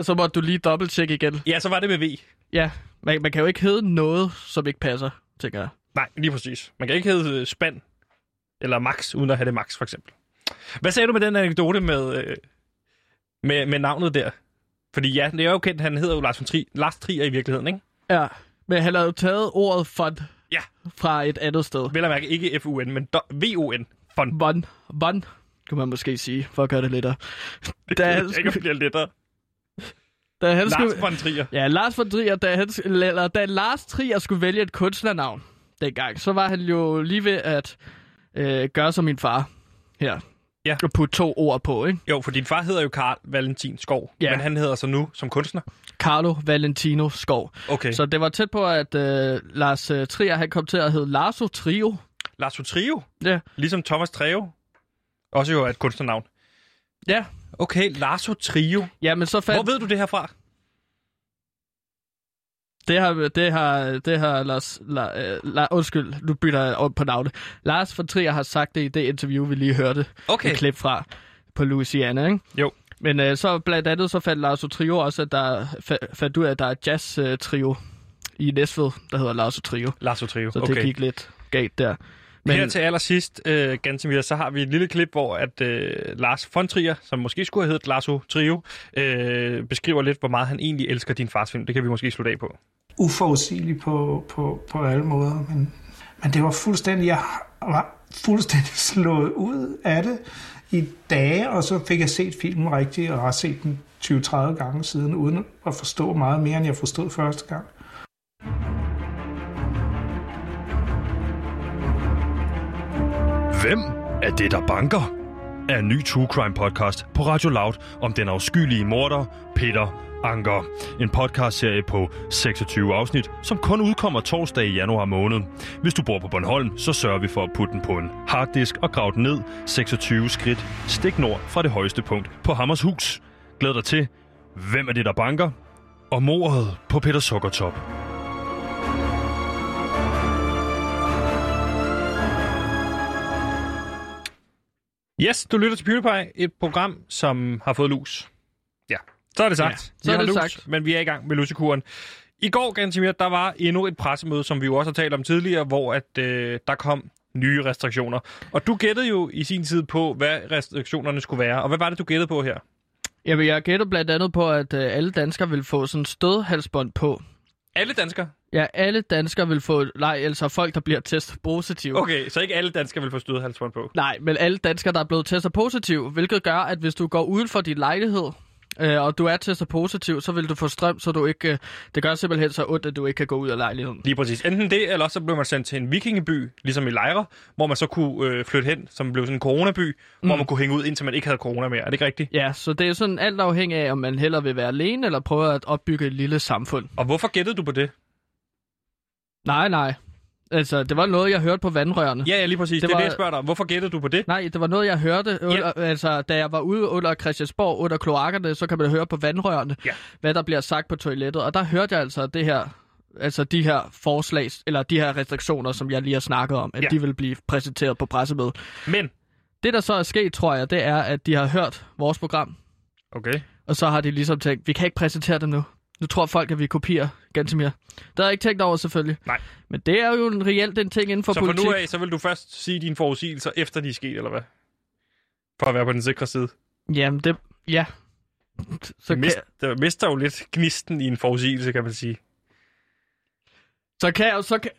Så måtte du lige dobbelttjekke igen. Ja, så var det med V. Ja, man, man kan jo ikke hedde noget, som ikke passer, tænker jeg. Nej, lige præcis. Man kan ikke hedde øh, Spand eller Max, uden at have det Max, for eksempel. Hvad sagde du med den anekdote med, øh, med, med navnet der? Fordi ja, det er jo kendt, han hedder jo Lars, von Tri, Lars Trier i virkeligheden, ikke? Ja, men han havde jo taget ordet fond Ja. fra et andet sted. Vel at mærke ikke F-U-N, men do- V-O-N. Fun. Von, von, kunne man måske sige, for at gøre det lettere. Da Det han, er ikke at skulle, blive lettere. da han Lars skulle, von Trier. ja, Lars von Trier, da, han, sk- eller, da Lars Trier skulle vælge et kunstnernavn dengang, så var han jo lige ved at øh, gøre som min far her. Ja. Og putte to ord på, ikke? Jo, for din far hedder jo Karl Valentin Skov, Ja. men han hedder så nu som kunstner. Carlo Valentino Skov. Okay. Så... Så det var tæt på, at øh, Lars øh, Trier, han kom til at hedde Larso Trio. Lars von Trio, Ja. ligesom Thomas Treve, også jo er et kunstnernavn. Ja. Okay, Lars von Trio. Ja, men så fandt... Hvor ved du det her fra? Det har, det har, det har Lars, la, øh, la, undskyld, nu bytter jeg om på navnet. Lars von Trier har sagt det i det interview, vi lige hørte Okay. et klip fra på Louisiana, ikke? Jo. Men øh, så blandt andet så fandt Lars Trio også, at der fa- fandt ud af, at der er et jazz-trio i Næstved, der hedder Lars Trio. Lasso Trio. Så okay. okay. det gik lidt galt der. Men... Her til allersidst, øh, Gantemir, så har vi et lille klip, hvor at øh, Lars von Trier, som måske skulle have heddet Lasso Trio, øh, beskriver lidt, hvor meget han egentlig elsker din fars film. Det kan vi måske slutte af på. uforudsigelig på, på, på alle måder, men, men det var fuldstændig, jeg var fuldstændig slået ud af det i dage, og så fik jeg set filmen rigtigt, og har set den 20-30 gange siden, uden at forstå meget mere, end jeg forstod første gang. Hvem er det, der banker? Er en ny True Crime podcast på Radio Loud om den afskyelige morder Peter Anker. En podcastserie på 26 afsnit, som kun udkommer torsdag i januar måned. Hvis du bor på Bornholm, så sørger vi for at putte den på en harddisk og grave den ned 26 skridt stik nord fra det højeste punkt på Hammershus. Glæd dig til, hvem er det, der banker? Og mordet på Peter Sukkertop. Yes, du lytter til PewDiePie, et program, som har fået lus. Ja, så er det sagt. Ja, Ja, så er det lus, sagt. Men vi er i gang med lusekuren. I går, Gantimir, der var endnu et pressemøde, som vi jo også har talt om tidligere, hvor at, øh, der kom nye restriktioner. Og du gættede jo i sin tid på, hvad restriktionerne skulle være. Og hvad var det, du gættede på her? Jamen, jeg gætter blandt andet på, at øh, alle danskere vil få sådan en stødhalsbånd på. Alle danskere? Ja, alle danskere vil få, nej, altså folk, der bliver testet positive. Okay, så ikke alle danskere vil få stødhalsbånd på. Nej, men alle danskere, der er blevet testet positiv, hvilket gør, at hvis du går uden for din lejlighed, øh, og du er testet positiv, så vil du få strøm, så du ikke... Øh, det gør simpelthen så ondt, at du ikke kan gå ud af lejligheden. Lige præcis. Enten det, eller også så blev man sendt til en vikingeby, ligesom i Lejre, hvor man så kunne øh, flytte hen, som blev sådan en coronaby, mm. hvor man kunne hænge ud, indtil man ikke havde corona mere. Er det ikke rigtigt? Ja, så det er sådan alt afhængig af, om man hellere vil være alene, eller prøve at opbygge et lille samfund. Og hvorfor gættede du på det? Nej, nej. Altså, det var noget, jeg hørte på vandrørene. Ja, ja lige præcis. Det, Det det er var- det, jeg spørger dig om. Hvorfor gættede du på det? Nej, det var noget, jeg hørte, under, altså, da jeg var ude under Christiansborg, under kloakkerne, så kan man høre på vandrørene, Ja. hvad der bliver sagt på toilettet. Og der hørte jeg altså det her, altså de her forslag, eller de her restriktioner, som jeg lige har snakket om, at Ja. ja. de vil blive præsenteret på pressemødet. Men, Det, der så er sket, tror jeg, det er, at de har hørt vores program, okay. og så har de ligesom tænkt, vi kan ikke præsentere dem nu. Nu tror folk, at vi kopier Gantemir. Det har jeg ikke tænkt over, selvfølgelig. Nej. Men det er jo en reelt en ting inden for så fra politik. nu af, så vil du først sige dine forudsigelser, efter de er sket, eller hvad? For at være på den sikre side. Jamen, det... Ja. Så Så kan- Mist, der mister jo lidt gnisten i en forudsigelse, kan man sige. Så kan jeg jo- så kan...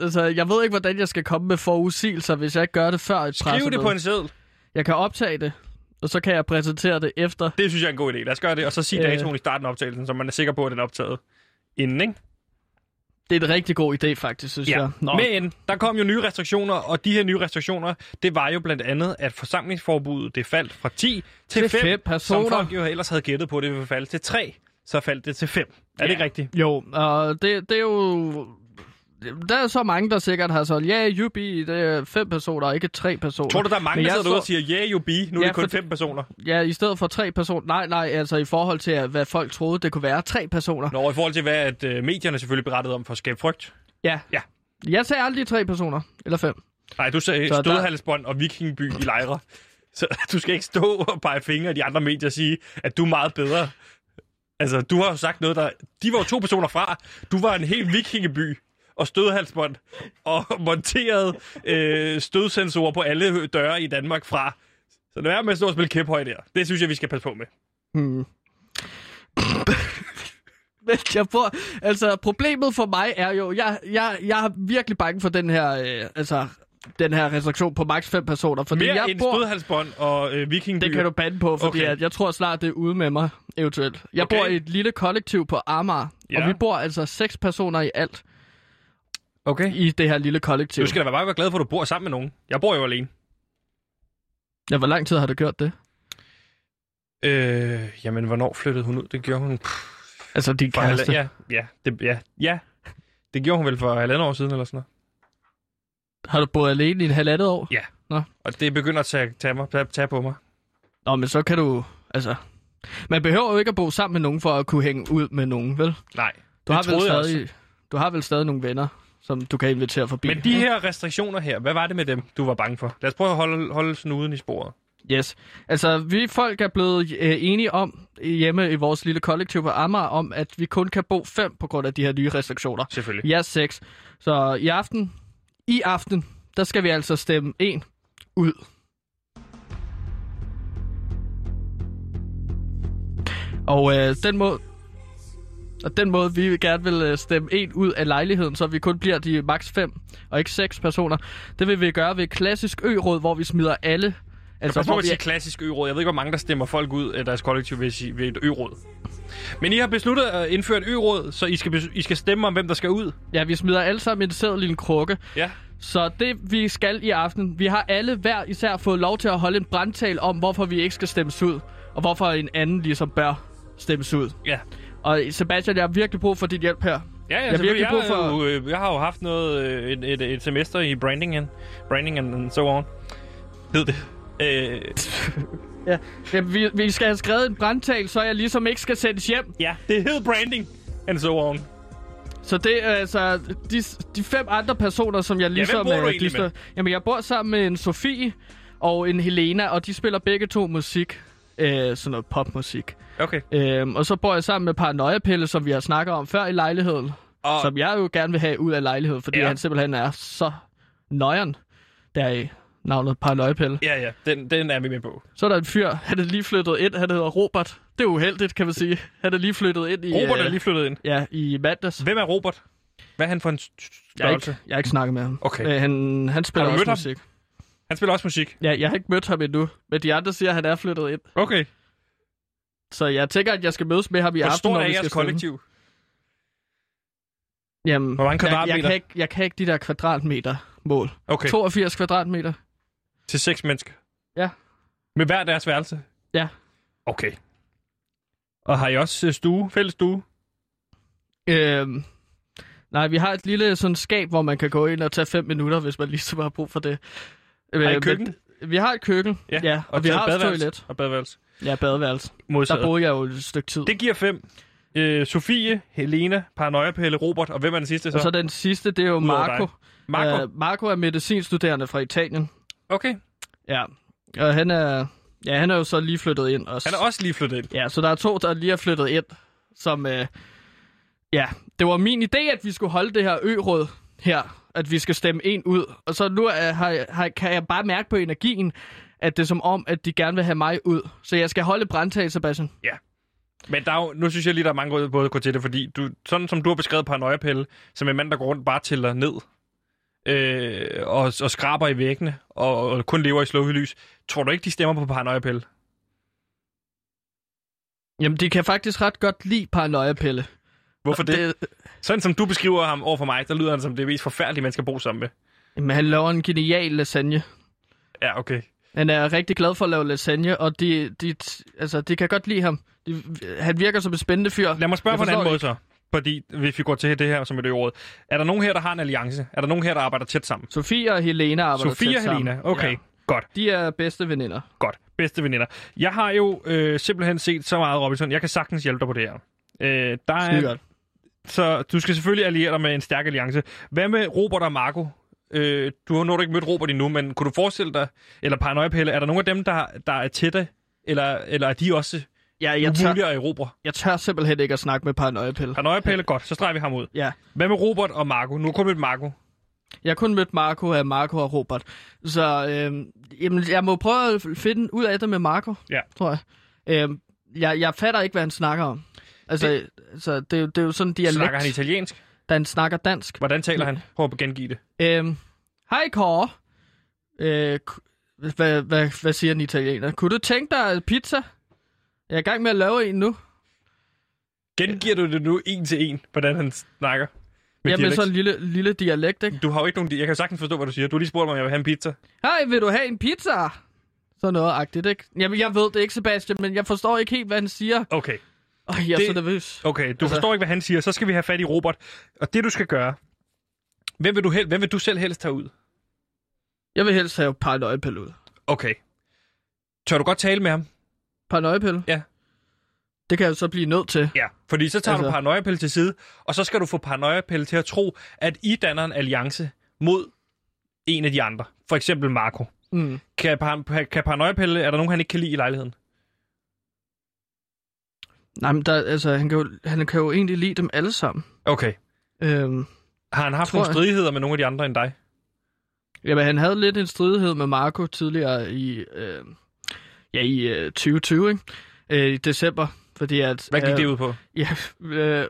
Altså, jeg ved ikke, hvordan jeg skal komme med forudsigelser, hvis jeg ikke gør det før et Skriv det på en seddel. Jeg kan optage det, og så kan jeg præsentere det efter. Det synes jeg er en god idé. Lad os gøre det, og så sig Øh. datoen i starten af optagelsen, så man er sikker på, at den er optaget inden, ikke? Det er en rigtig god idé, faktisk, synes Ja. jeg. Nå, Men der kom jo nye restriktioner, og de her nye restriktioner, det var jo blandt andet, at forsamlingsforbuddet det faldt fra 10 til 5, Til fem som personer. folk jo ellers havde gættet på, det ville falde til 3, så faldt det til 5. Er det ikke rigtigt? Jo, og det, det er jo... Der er så mange, der sikkert har sådan, ja, yeah, jubi, det er fem personer, og ikke tre personer. Tror du, der er mange, Men der jeg sidder derude og så- siger, yeah, you be, nu er Ja, det kun fordi- fem personer? Ja, i stedet for tre personer. Nej, nej, altså i forhold til, hvad folk troede, det kunne være tre personer. Nå, i forhold til, hvad at, øh, medierne selvfølgelig berettede om for at skabe frygt. Ja. Ja. Jeg sagde aldrig tre personer, eller fem. Nej, du sagde Så der- stødhalsbånd og vikingby i lejre. Så du skal ikke stå og pege fingre af de andre medier og sige, at du er meget bedre. Altså, du har jo sagt noget, der... De var jo to personer fra. Du var en hel vikingeby og stødhalsbånd og monteret øh, stødsensorer på alle døre i Danmark fra. Så det er med at stå og spille kæphøj der. Det synes jeg, vi skal passe på med. Hmm. Men jeg får, altså, problemet for mig er jo, jeg, jeg, jeg er virkelig bange for den her, øh, altså, den her restriktion på maks 5 personer. Fordi Mere jeg end bor, stødhalsbånd og øh, vikingby. det kan du bande på, fordi Okay. okay. at jeg tror snart, det er ude med mig, eventuelt. Jeg Okay. okay. bor i et lille kollektiv på Amager, Ja. og vi bor altså seks personer i alt Okay. i det her lille kollektiv. Du skal da være meget være glad for, at du bor sammen med nogen. Jeg bor jo alene. Ja, hvor lang tid har du gjort det? Øh, jamen, hvornår flyttede hun ud? Det gjorde hun... Pff, Altså, din for kæreste. halv... ja, ja, det, ja, ja. Det gjorde hun vel for halvandet år siden eller sådan noget. Har du boet alene i et halvandet år? Ja. Og det begynder at tage, tage, mig, tage, tage på mig. Nå, men så kan du, altså... Man behøver jo ikke at bo sammen med nogen, for at kunne hænge ud med nogen, vel? Nej, Du har, vel troede jeg stadig, du har vel stadig nogle venner, som du kan invitere forbi. Men de her restriktioner her, hvad var det med dem, du var bange for? Lad os prøve at holde, holde snuden i sporet. Yes. Altså, vi folk er blevet øh, enige om hjemme i vores lille kollektiv på Amager, om at vi kun kan bo fem på grund af de her nye restriktioner. Selvfølgelig. Jeg er seks. Så i aften, i aften, der skal vi altså stemme en ud. Og øh, den måde, og den måde, vi gerne vil øh, stemme en ud af lejligheden, så vi kun bliver de maks 5 og ikke 6 personer, det vil vi gøre ved et klassisk ø-råd, hvor vi smider alle... Altså, Pas på hvor at vi, sige klassisk ø-råd. Jeg ved ikke, hvor mange, der stemmer folk ud af deres kollektiv ved, at sige- ved et ø-råd. Men I har besluttet at indføre et ø-råd, så I skal, bes- I skal stemme om, hvem der skal ud. ja, vi smider alle sammen en sædel i en krukke. Ja. Så det, vi skal i aften, vi har alle hver især fået lov til at holde en brandtal om, hvorfor vi ikke skal stemmes ud, og hvorfor en anden ligesom bør stemmes ud. Ja. Og Sebastian, jeg har virkelig brug for dit hjælp her. Ja, ja, Jeg har virkelig selvfølgelig. brug jeg, for- for... jo, øh, jeg har jo haft noget, øh, et, et, et semester i branding and, branding and, and so on. Hed det. Øh, Jamen, vi, vi skal have skrevet en brandtal, så jeg ligesom ikke skal sendes hjem. ja, det hed branding and so on. Så det er altså de, de fem andre personer, som jeg ligesom... bor du øh, egentlig klistrer- med? Jamen, jeg bor sammen med en Sofie og en Helena, og de spiller begge to musik. Øh, sådan noget popmusik. Okay. Øhm, og så bor jeg sammen med Paranoia-Pelle, som vi har snakket om før i lejligheden. Og- Og... Som jeg jo gerne vil have ud af lejligheden, fordi Ja. ja. han simpelthen er så nøjeren der i navnet Paranoia-Pelle. Ja, ja, den, den er vi med på. Så er der en fyr, han er lige flyttet ind, han hedder Robert. Det er uheldigt, kan man sige. Han er lige flyttet ind i... Robert øh, er lige flyttet ind. Ja, i mandags. Hvem er Robert? Hvad er han for en st- Jeg har størrelse? ikke, jeg har ikke snakket med ham. Okay. Øh, han, han spiller Har du også mødt ham? musik. Ham? Han spiller også musik. Ja, jeg har ikke mødt ham endnu, men de andre siger, at han er flyttet ind. Okay. Så jeg tænker, at jeg skal mødes med ham i Hvor aften, stort når er vi skal jeres stemme. kollektiv? Jamen, Hvor mange jeg, jeg, kvadratmeter? kan ikke, jeg kan ikke de der kvadratmeter-mål. Okay, 82 kvadratmeter. til seks mennesker. Ja. Med hver deres værelse? Ja. Okay. Og har I også øh, stue, fælles stue? Øhm, nej, vi har et lille sådan skab, hvor man kan gå ind og tage 5 minutter, hvis man ligesom har brug for det. Øh, Har I men- køkken? Vi har et køkken, ja, ja og, og vi så har også badeværelse. toilet. Og badeværelse. Ja, badeværelse. Modsat. Der boede jeg jo et stykke tid. Det giver fem. Øh, Sofie, Helena, Paranoia Pelle, Robert, og hvem er den sidste så? og så den sidste, det er jo Udover Marco. Marco. Øh, Marco er medicinstuderende fra Italien. Okay. Ja, og han er, ja, han er jo så lige flyttet ind også. Han er også lige flyttet ind. Ja, så der er to, der lige er flyttet ind, som... Øh, ja, det var min idé, at vi skulle holde det her ø-råd her, at vi skal stemme en ud. Og så nu er, har, jeg- har, kan jeg bare mærke på energien, at det er som om, at de gerne vil have mig ud. Så jeg skal holde brandtag, Sebastian. Men der er jo, nu synes jeg lige, der er mange gode både at gå til det, fordi du, sådan som du har beskrevet Paranoia Pelle, som en mand, der går rundt bare tæller ned øh, og, og skraber i væggene og, og kun lever i slukket lys, tror du ikke, de stemmer på Paranoia Pelle? Jamen, de kan faktisk ret godt lide paranoia-pille. Hvorfor det? det? det? Sådan som du beskriver ham over for mig, der lyder han som det mest forfærdelige, man skal bo sammen med. Jamen, han laver en genial lasagne. Ja, okay. Han er rigtig glad for at lave lasagne, og de, de, altså, de kan godt lide ham. De, han virker som en spændende fyr. Lad mig spørge Jeg på en anden forstår måde så. Fordi hvis vi går til det her som et øvrigt. Er der nogen her, der har en alliance? Er der nogen her, der arbejder tæt sammen? Sofie og Helena arbejder Sofie tæt og sammen. Helena. Okay, Ja. godt. De er bedste veninder. Godt. Bedste veninder. Jeg har jo øh, simpelthen set så meget, Robinson. Jeg kan sagtens hjælpe dig på det her. Øh, der er, Skide så du skal selvfølgelig alliere dig med en stærk alliance. Hvad med Robert og Marco? Øh, du har nok ikke mødt Robert endnu, men kunne du forestille dig, eller Paranoia Pelle, er der nogen af dem, der, der er tætte? Eller, eller er de også Ja, jeg tør, umulige at erobre? jeg tør simpelthen ikke at snakke med paranoia-pille. Paranoia Pelle, godt. Så streger vi ham ud. Ja. Hvad med Robert og Marco? Nu har jeg kun mødt Marco. Jeg har kun mødt Marco af Marco og Robert. Så øhm, jamen, jeg må prøve at finde ud af det med Marco, Ja. tror jeg. Øhm, jeg. Jeg fatter ikke, hvad han snakker om. Altså, det, altså, det, er jo- det er jo sådan en dialekt, Snakker han italiensk? da han snakker dansk. Hvordan taler han? Prøv at gengive det. Øhm, Hej, Kåre. Øh, ku- hvad, hvad, hvad siger en italiener? Kunne du tænke dig pizza? Jeg er i gang med at lave en nu. Gengiver du det nu en til en, hvordan han snakker? Med Med Jamen, dialekt? sådan en lille, lille dialekt, ikke? Du har jo ikke nogen... Jeg kan jo sagtens forstå, hvad du siger. Du har lige spurgt mig, om jeg vil have en pizza. Hej, vil du have en pizza? Sådan noget agtigt, ikke? Jamen, jeg ved det ikke, Sebastian, men jeg forstår ikke helt, hvad han siger. Okay, Og jeg er Det- så nervøs. okay. Du altså... Altså- forstår ikke, hvad han siger. Så skal vi have fat i Robert. Og det, du skal gøre... Hvem vil du, hel... Hvem vil du selv helst tage ud? Jeg vil helst have paranoiapille ud. Okay. Tør du godt tale med ham? Paranoiapille? Ja. Det kan jeg jo så blive nødt til. Ja. Fordi så tager altså... du Altså- paranoiapille til side, og så skal du få paranoiapille til at tro, at I danner en alliance mod en af de andre. For eksempel Marco. Mm. Kan, par, kan paranoia-pille, er der nogen, han ikke kan lide i lejligheden? Nej, men der, altså, han, kan jo, han kan jo egentlig lide dem alle sammen. Okay. Øhm, Har han haft Tror nogle jeg. stridigheder med nogle af de andre end dig? jamen, han havde lidt en stridighed med Marco tidligere i, øh, ja, i øh, 2020, ikke? Øh, i december. Fordi at, Hvad gik øh, det ud på? Ja, øh,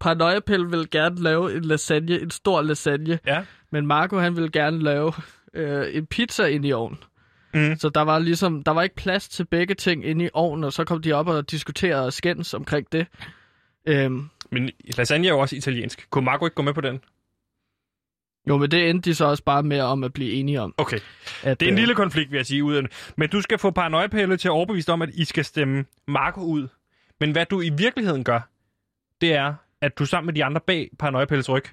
Paranoiapel ville gerne lave en lasagne, en stor lasagne, Ja. men Marco han ville gerne lave øh, en pizza ind i ovnen. Mm. Så der var ligesom, der var ikke plads til begge ting inde i ovnen, og så kom de op og diskuterede og skændes omkring det. Øhm, Men lasagne er jo også italiensk. Kunne Marco ikke gå med på den? jo, men det endte de så også bare med om at blive enige om. Okay. At, Det er en øh, lille konflikt, vil jeg sige. Uden. Men du skal få paranoia-pille til at overbevise dig om, at I skal stemme Marco ud. Men hvad du i virkeligheden gør, det er, at du sammen med de andre bag paranoia ryg,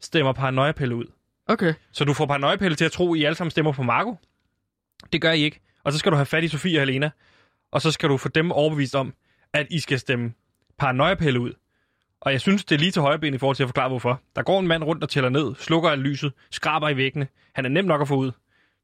stemmer paranoia ud. Okay, Så du får paranoia til at tro, at I alle sammen stemmer på Marco. Det gør I ikke. Og så skal du have fat i Sofie og Helena. Og så skal du få dem overbevist om, at I skal stemme paranoia ud. Og jeg synes, det er lige til højre ben i forhold til at forklare, hvorfor. Der går en mand rundt og tæller ned, slukker af lyset, skraber i væggene. Han er nem nok at få ud.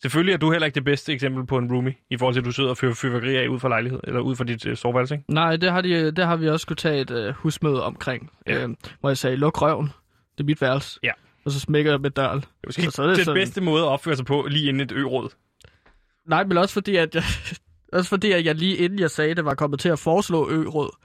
Selvfølgelig er du heller ikke det bedste eksempel på en roomie, i forhold til, at du sidder og fyrer fyrværkeri af ud fra lejlighed, eller ud fra dit øh, soveværelse, ikke? nej, det har, de, det har vi også skulle tage et øh, husmøde omkring, Ja. ja. øhm, hvor jeg sagde, luk røven, det er mit værelse. Ja. Og så smækker jeg med døren. Det er måske Og ikke så er det den sådan- bedste måde at opføre sig på, lige inden et ø-råd. Nej, men også fordi, at jeg, også fordi, at jeg lige inden jeg sagde det, var kommet til at foreslå ø-råd.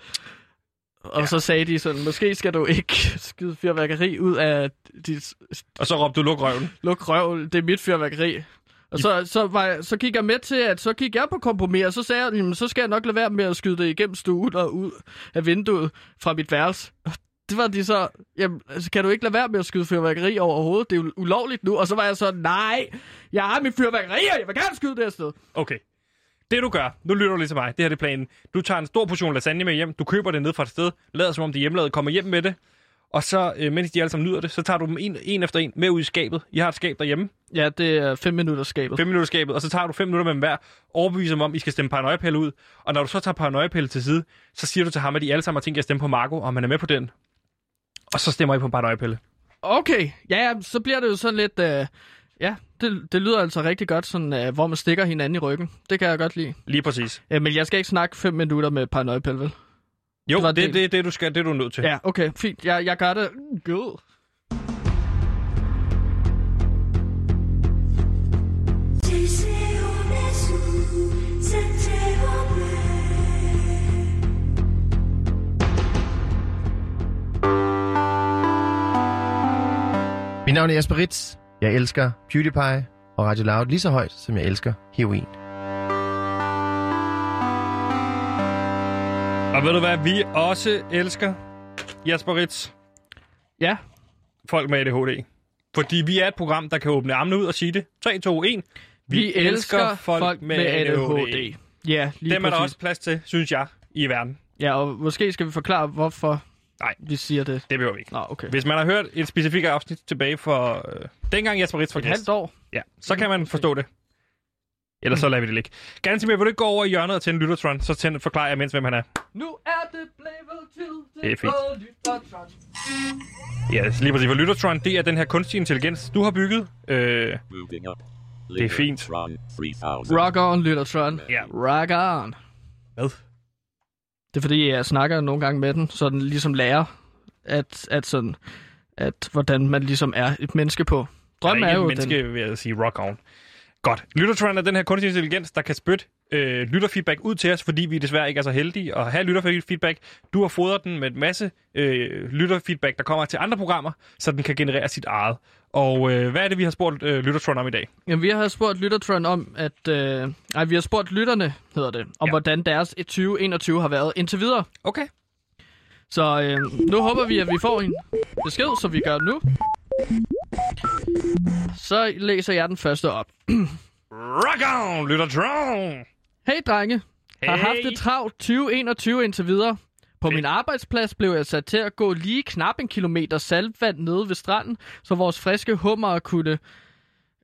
Og ja. så sagde de sådan, måske skal du ikke skyde fyrværkeri ud af dit Og så råbte du, luk røven. luk røv, det er mit fyrværkeri. Og så, så, var jeg, så gik jeg med til, at så gik jeg på kompromis, og så sagde jeg, "Jamen, så skal jeg nok lade være med at skyde det igennem stuen og ud af vinduet fra mit værelse. Og det var de så, jamen, altså, kan du ikke lade være med at skyde fyrværkeri overhovedet? Det er jo ulovligt nu. Og så var jeg så, nej, jeg har mit fyrværkeri, og jeg vil gerne skyde det her sted. Okay. Det du gør, nu lytter du lige til mig, det her det er planen. Du tager en stor portion lasagne med hjem, du køber det ned fra et sted, lader som om det er hjemmelavet, kommer hjem med det, og så, øh, mens de alle sammen nyder det, så tager du dem en, en efter en med ud i skabet. I har et skab derhjemme, Ja, det er fem minutter skabet. 5 minutter skabet, og så tager du 5 minutter med dem hver, overbeviser dem om, I skal stemme paranoiapille ud, og når du så tager paranoiapille til side, så siger du til ham, at I alle sammen har tænkt jer at stemme på Marco, og man er med på den. Og så stemmer I på paranoiapille. Okay, ja, ja, så bliver det jo sådan lidt... Øh, ja, det, det lyder altså rigtig godt, sådan, øh, hvor man stikker hinanden i ryggen. Det kan jeg godt lide. Lige præcis. Øh, men jeg skal ikke snakke fem minutter med paranoidpæl, vel? Jo, Det var det, det, det. det, det, du skal, det du er nødt til. Ja, okay, fint. Jeg, jeg gør det. God. Mit navn er Jesper Ritz. Jeg elsker PewDiePie og Radio Loud lige så højt, som jeg elsker heroin. Og ved du hvad, vi også elsker Jasper Ritz. Ja, folk med ADHD. Fordi vi er et program, der kan åbne armene ud og sige det. 3, 2, 1. vi, vi elsker, elsker folk, folk med, med ADHD. ADHD. Ja, lige Dem er der præcis. også plads til, synes jeg, i verden. Ja, og måske skal vi forklare, hvorfor Nej. vi siger det. Det behøver vi ikke. Nå, okay. Hvis man har hørt et specifikt afsnit tilbage for øh, dengang Jesper Ritz var Et gæst, halvt år. ja, så kan man forstå det. Ellers så lader vi det ligge. Ganske mere, vil du ikke gå over i hjørnet og tænde Lyttertron, så tænd, forklarer jeg mens, hvem han er. Nu er det blevet til Det er fint. blå lys og trans. Ja, yes, lige præcis. For Lyttertron, det er den her kunstige intelligens, du har bygget. Øh, Moving up. er fint. Tron 3000. Rock on, Lyttertron. Ja. Rock on. Hvad? Det er fordi, jeg snakker nogle gange med den, så den ligesom lærer, at, at, sådan, at hvordan man ligesom er et menneske på. Drømmen er, er, ikke jo et den. menneske, vil jeg sige, rock on. Godt. Lyttertrend er den her kunstig intelligens, der kan spytte øh, lytterfeedback ud til os, fordi vi desværre ikke er så heldige at have lytterfeedback. Du har fodret den med en masse øh, lytterfeedback, der kommer til andre programmer, så den kan generere sit eget. Og øh, hvad er det, vi har spurgt øh, Lyttertrend om i dag? Jamen, vi har spurgt Lyttertron om, at... Øh, nej, vi har spurgt lytterne, hedder det, om Ja. ja. hvordan deres 2021 har været indtil videre. Okay. Så øh, nu håber vi, at vi får en besked, som vi gør nu. Så læser jeg den første op. Rock on, Lyttertrond! Hey drenge, hey. har Hey. haft det travlt 2021 indtil videre. På min arbejdsplads blev jeg sat til at gå lige knap en kilometer saltvand nede ved stranden, så vores friske hummer kunne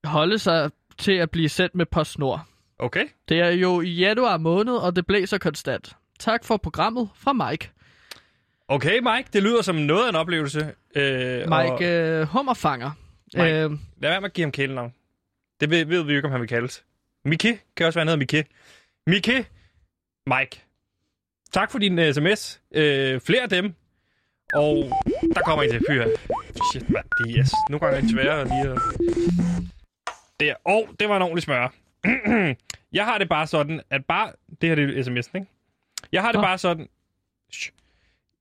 holde sig til at blive sendt med postnord. Okay. Det er jo i januar måned, og det blæser konstant. Tak for programmet fra Mike. Okay, Mike, det lyder som noget af en oplevelse. Øh, Og, Mike øh, Hummerfanger. Mike. Øh, lad være med at give ham kælenavn. Det ved, ved vi jo ikke, om han vil kaldes. Mikke kan også være, han hedder Mikke. Mikke, Mike, tak for din uh, sms. Uh, flere af dem. Og der kommer en til. Fyr. Shit, mand. Det er yes. Nogle gange er det sværere lige at... Der. Og det var en ordentlig smør. jeg har det bare sådan, at bare... Det her det er sms'en, ikke? Jeg har det bare sådan... Shh.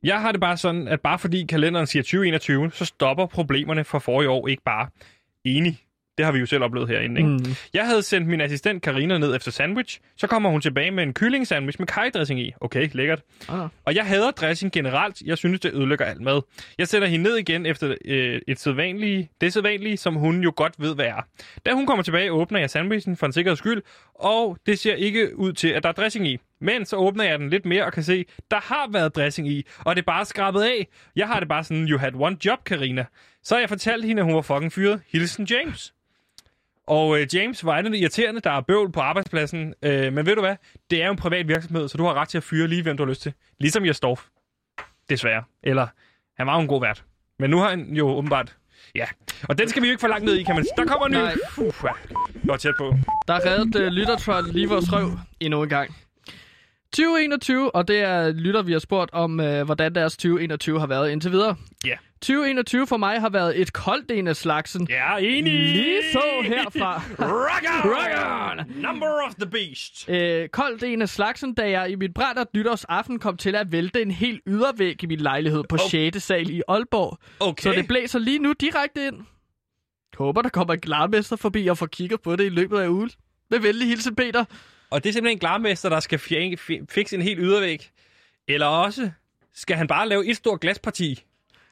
Jeg har det bare sådan, at bare fordi kalenderen siger 2021, så stopper problemerne fra forrige år ikke bare. Enig. Det har vi jo selv oplevet herinde, ikke? Mm. Jeg havde sendt min assistent Karina ned efter sandwich. Så kommer hun tilbage med en kylling sandwich med kajdressing i. Okay, lækkert. Ah. Og jeg hader dressing generelt. Jeg synes, det ødelægger alt mad. Jeg sætter hende ned igen efter øh, et sædvanlige, det sædvanlige, som hun jo godt ved, hvad er. Da hun kommer tilbage, åbner jeg sandwichen for en sikkerheds skyld, og det ser ikke ud til, at der er dressing i. Men så åbner jeg den lidt mere og kan se, der har været dressing i, og det er bare skrabet af. Jeg har det bare sådan, you had one job, Karina. Så jeg fortalte hende, at hun var fucking fyret. Hilsen James. Og øh, James var andet irriterende, der er bøvl på arbejdspladsen. Øh, men ved du hvad? Det er jo en privat virksomhed, så du har ret til at fyre lige, hvem du har lyst til. Ligesom Jastorf. Desværre. Eller, han var jo en god vært. Men nu har han jo åbenbart... Ja. Og den skal vi jo ikke for langt ned i, kan man sige. Der kommer en ny... Nej. Puh, ja. det var tæt på. Der reddede uh, lytter fra lige vores røv endnu en gang. 2021, og det er lytter, vi har spurgt om, øh, hvordan deres 2021 har været indtil videre. Ja. 2021 for mig har været et koldt en af slagsen. Ja, enig! Lige så herfra. Rock on! Rock on! Number of the beast! Øh, koldt en af slagsen, da jeg i mit brændert nytårsaften kom til at vælte en hel ydervæg i min lejlighed på Oh. 6. sal i Aalborg. Okay. Så det blæser lige nu direkte ind. Håber, der kommer en glarmester forbi og får kigger på det i løbet af ugen. Med venlig hilsen, Peter. Og det er simpelthen en glarmester, der skal fje- fi- fikse en helt ydervæg. Eller også skal han bare lave et stort glasparti.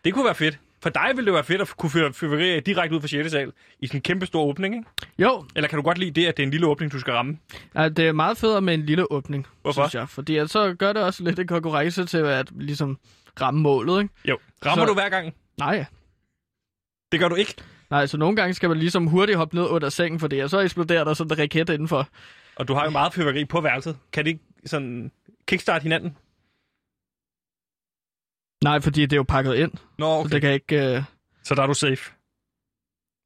Det kunne være fedt. For dig ville det være fedt at kunne fyre fyrværkeri af direkte ud fra 6. sal i sådan en kæmpe stor åbning, ikke? Jo, Eller kan du godt lide det, at det er en lille åbning, du skal ramme? Ja, det er meget federe med en lille åbning, Hvorfor? synes jeg. Fordi at så gør det også lidt en konkurrence til at ligesom ramme målet, ikke? Jo. Rammer Så- du hver gang? Nej, Det gør du ikke. nej, så nogle gange skal man ligesom hurtigt hoppe ned under sengen, fordi at så eksploderer der sådan en raket indenfor. Og du har jo meget fyrværkeri på værelset. Kan det ikke sådan kickstarte hinanden? Nej, fordi det er jo pakket ind, okay. Nå, så okay. det kan ikke... Øh, det Så der er du safe.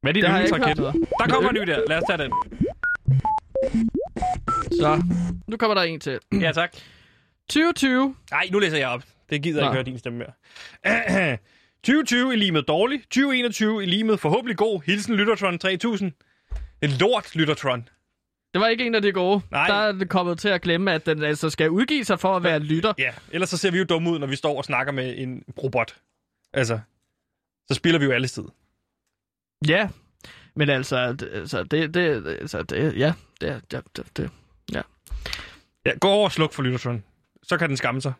Hvad er din har jeg ikke yndlingsraket? hørt noget. Der kommer en ny der. Lad os tage den. Så, nu kommer der en til. Ja, tak. 2020. Nej, nu læser jeg op. Det gider jeg Nå. ikke høre din stemme mere. 2020 i limet dårlig. 2021 i limet forhåbentlig god. Hilsen Lyttertron 3000. En lort, Lyttertron. Det var ikke en af de gode. Nej. Der er det kommet til at glemme, at den altså skal udgive sig for at være lytter. Ja, ellers så ser vi jo dumme ud, når vi står og snakker med en robot. Altså, så spiller vi jo alle tid. Ja, men altså, det- altså det, det, altså, det, ja, det, det, det, det. Ja, gå over og sluk for Lyttertron. Så kan den skamme sig.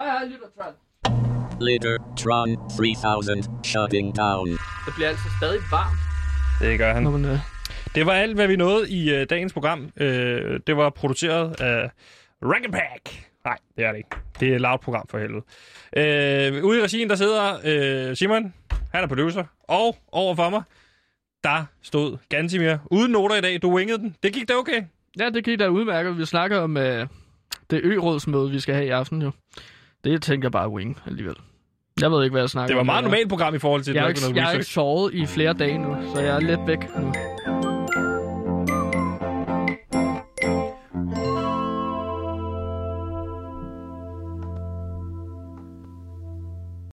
Hej, hej, lytter, Litter Tron 3000 shutting down. Det bliver altså stadig varmt. Det gør han. Når man, øh, Det var alt, hvad vi nåede i øh, dagens program. Øh, det var produceret af Rankin Pack. Nej, det er det ikke. Det er et lavt program for helvede. Øh, ude i regien, der sidder øh, Simon. Han er producer. Og over for mig, der stod Gansimir. Uden noter i dag. Du wingede den. Det gik da okay. Ja, det gik da udmærket. Vi snakker om øh, det ø-rådsmøde, vi skal have i aften jo. Det tænker jeg bare wing alligevel. Jeg ved ikke, hvad jeg snakker Det var om. meget normalt program i forhold til... at Jeg der har ikke ikke, var noget jeg har ikke research. sovet i flere dage nu, så jeg er lidt væk nu.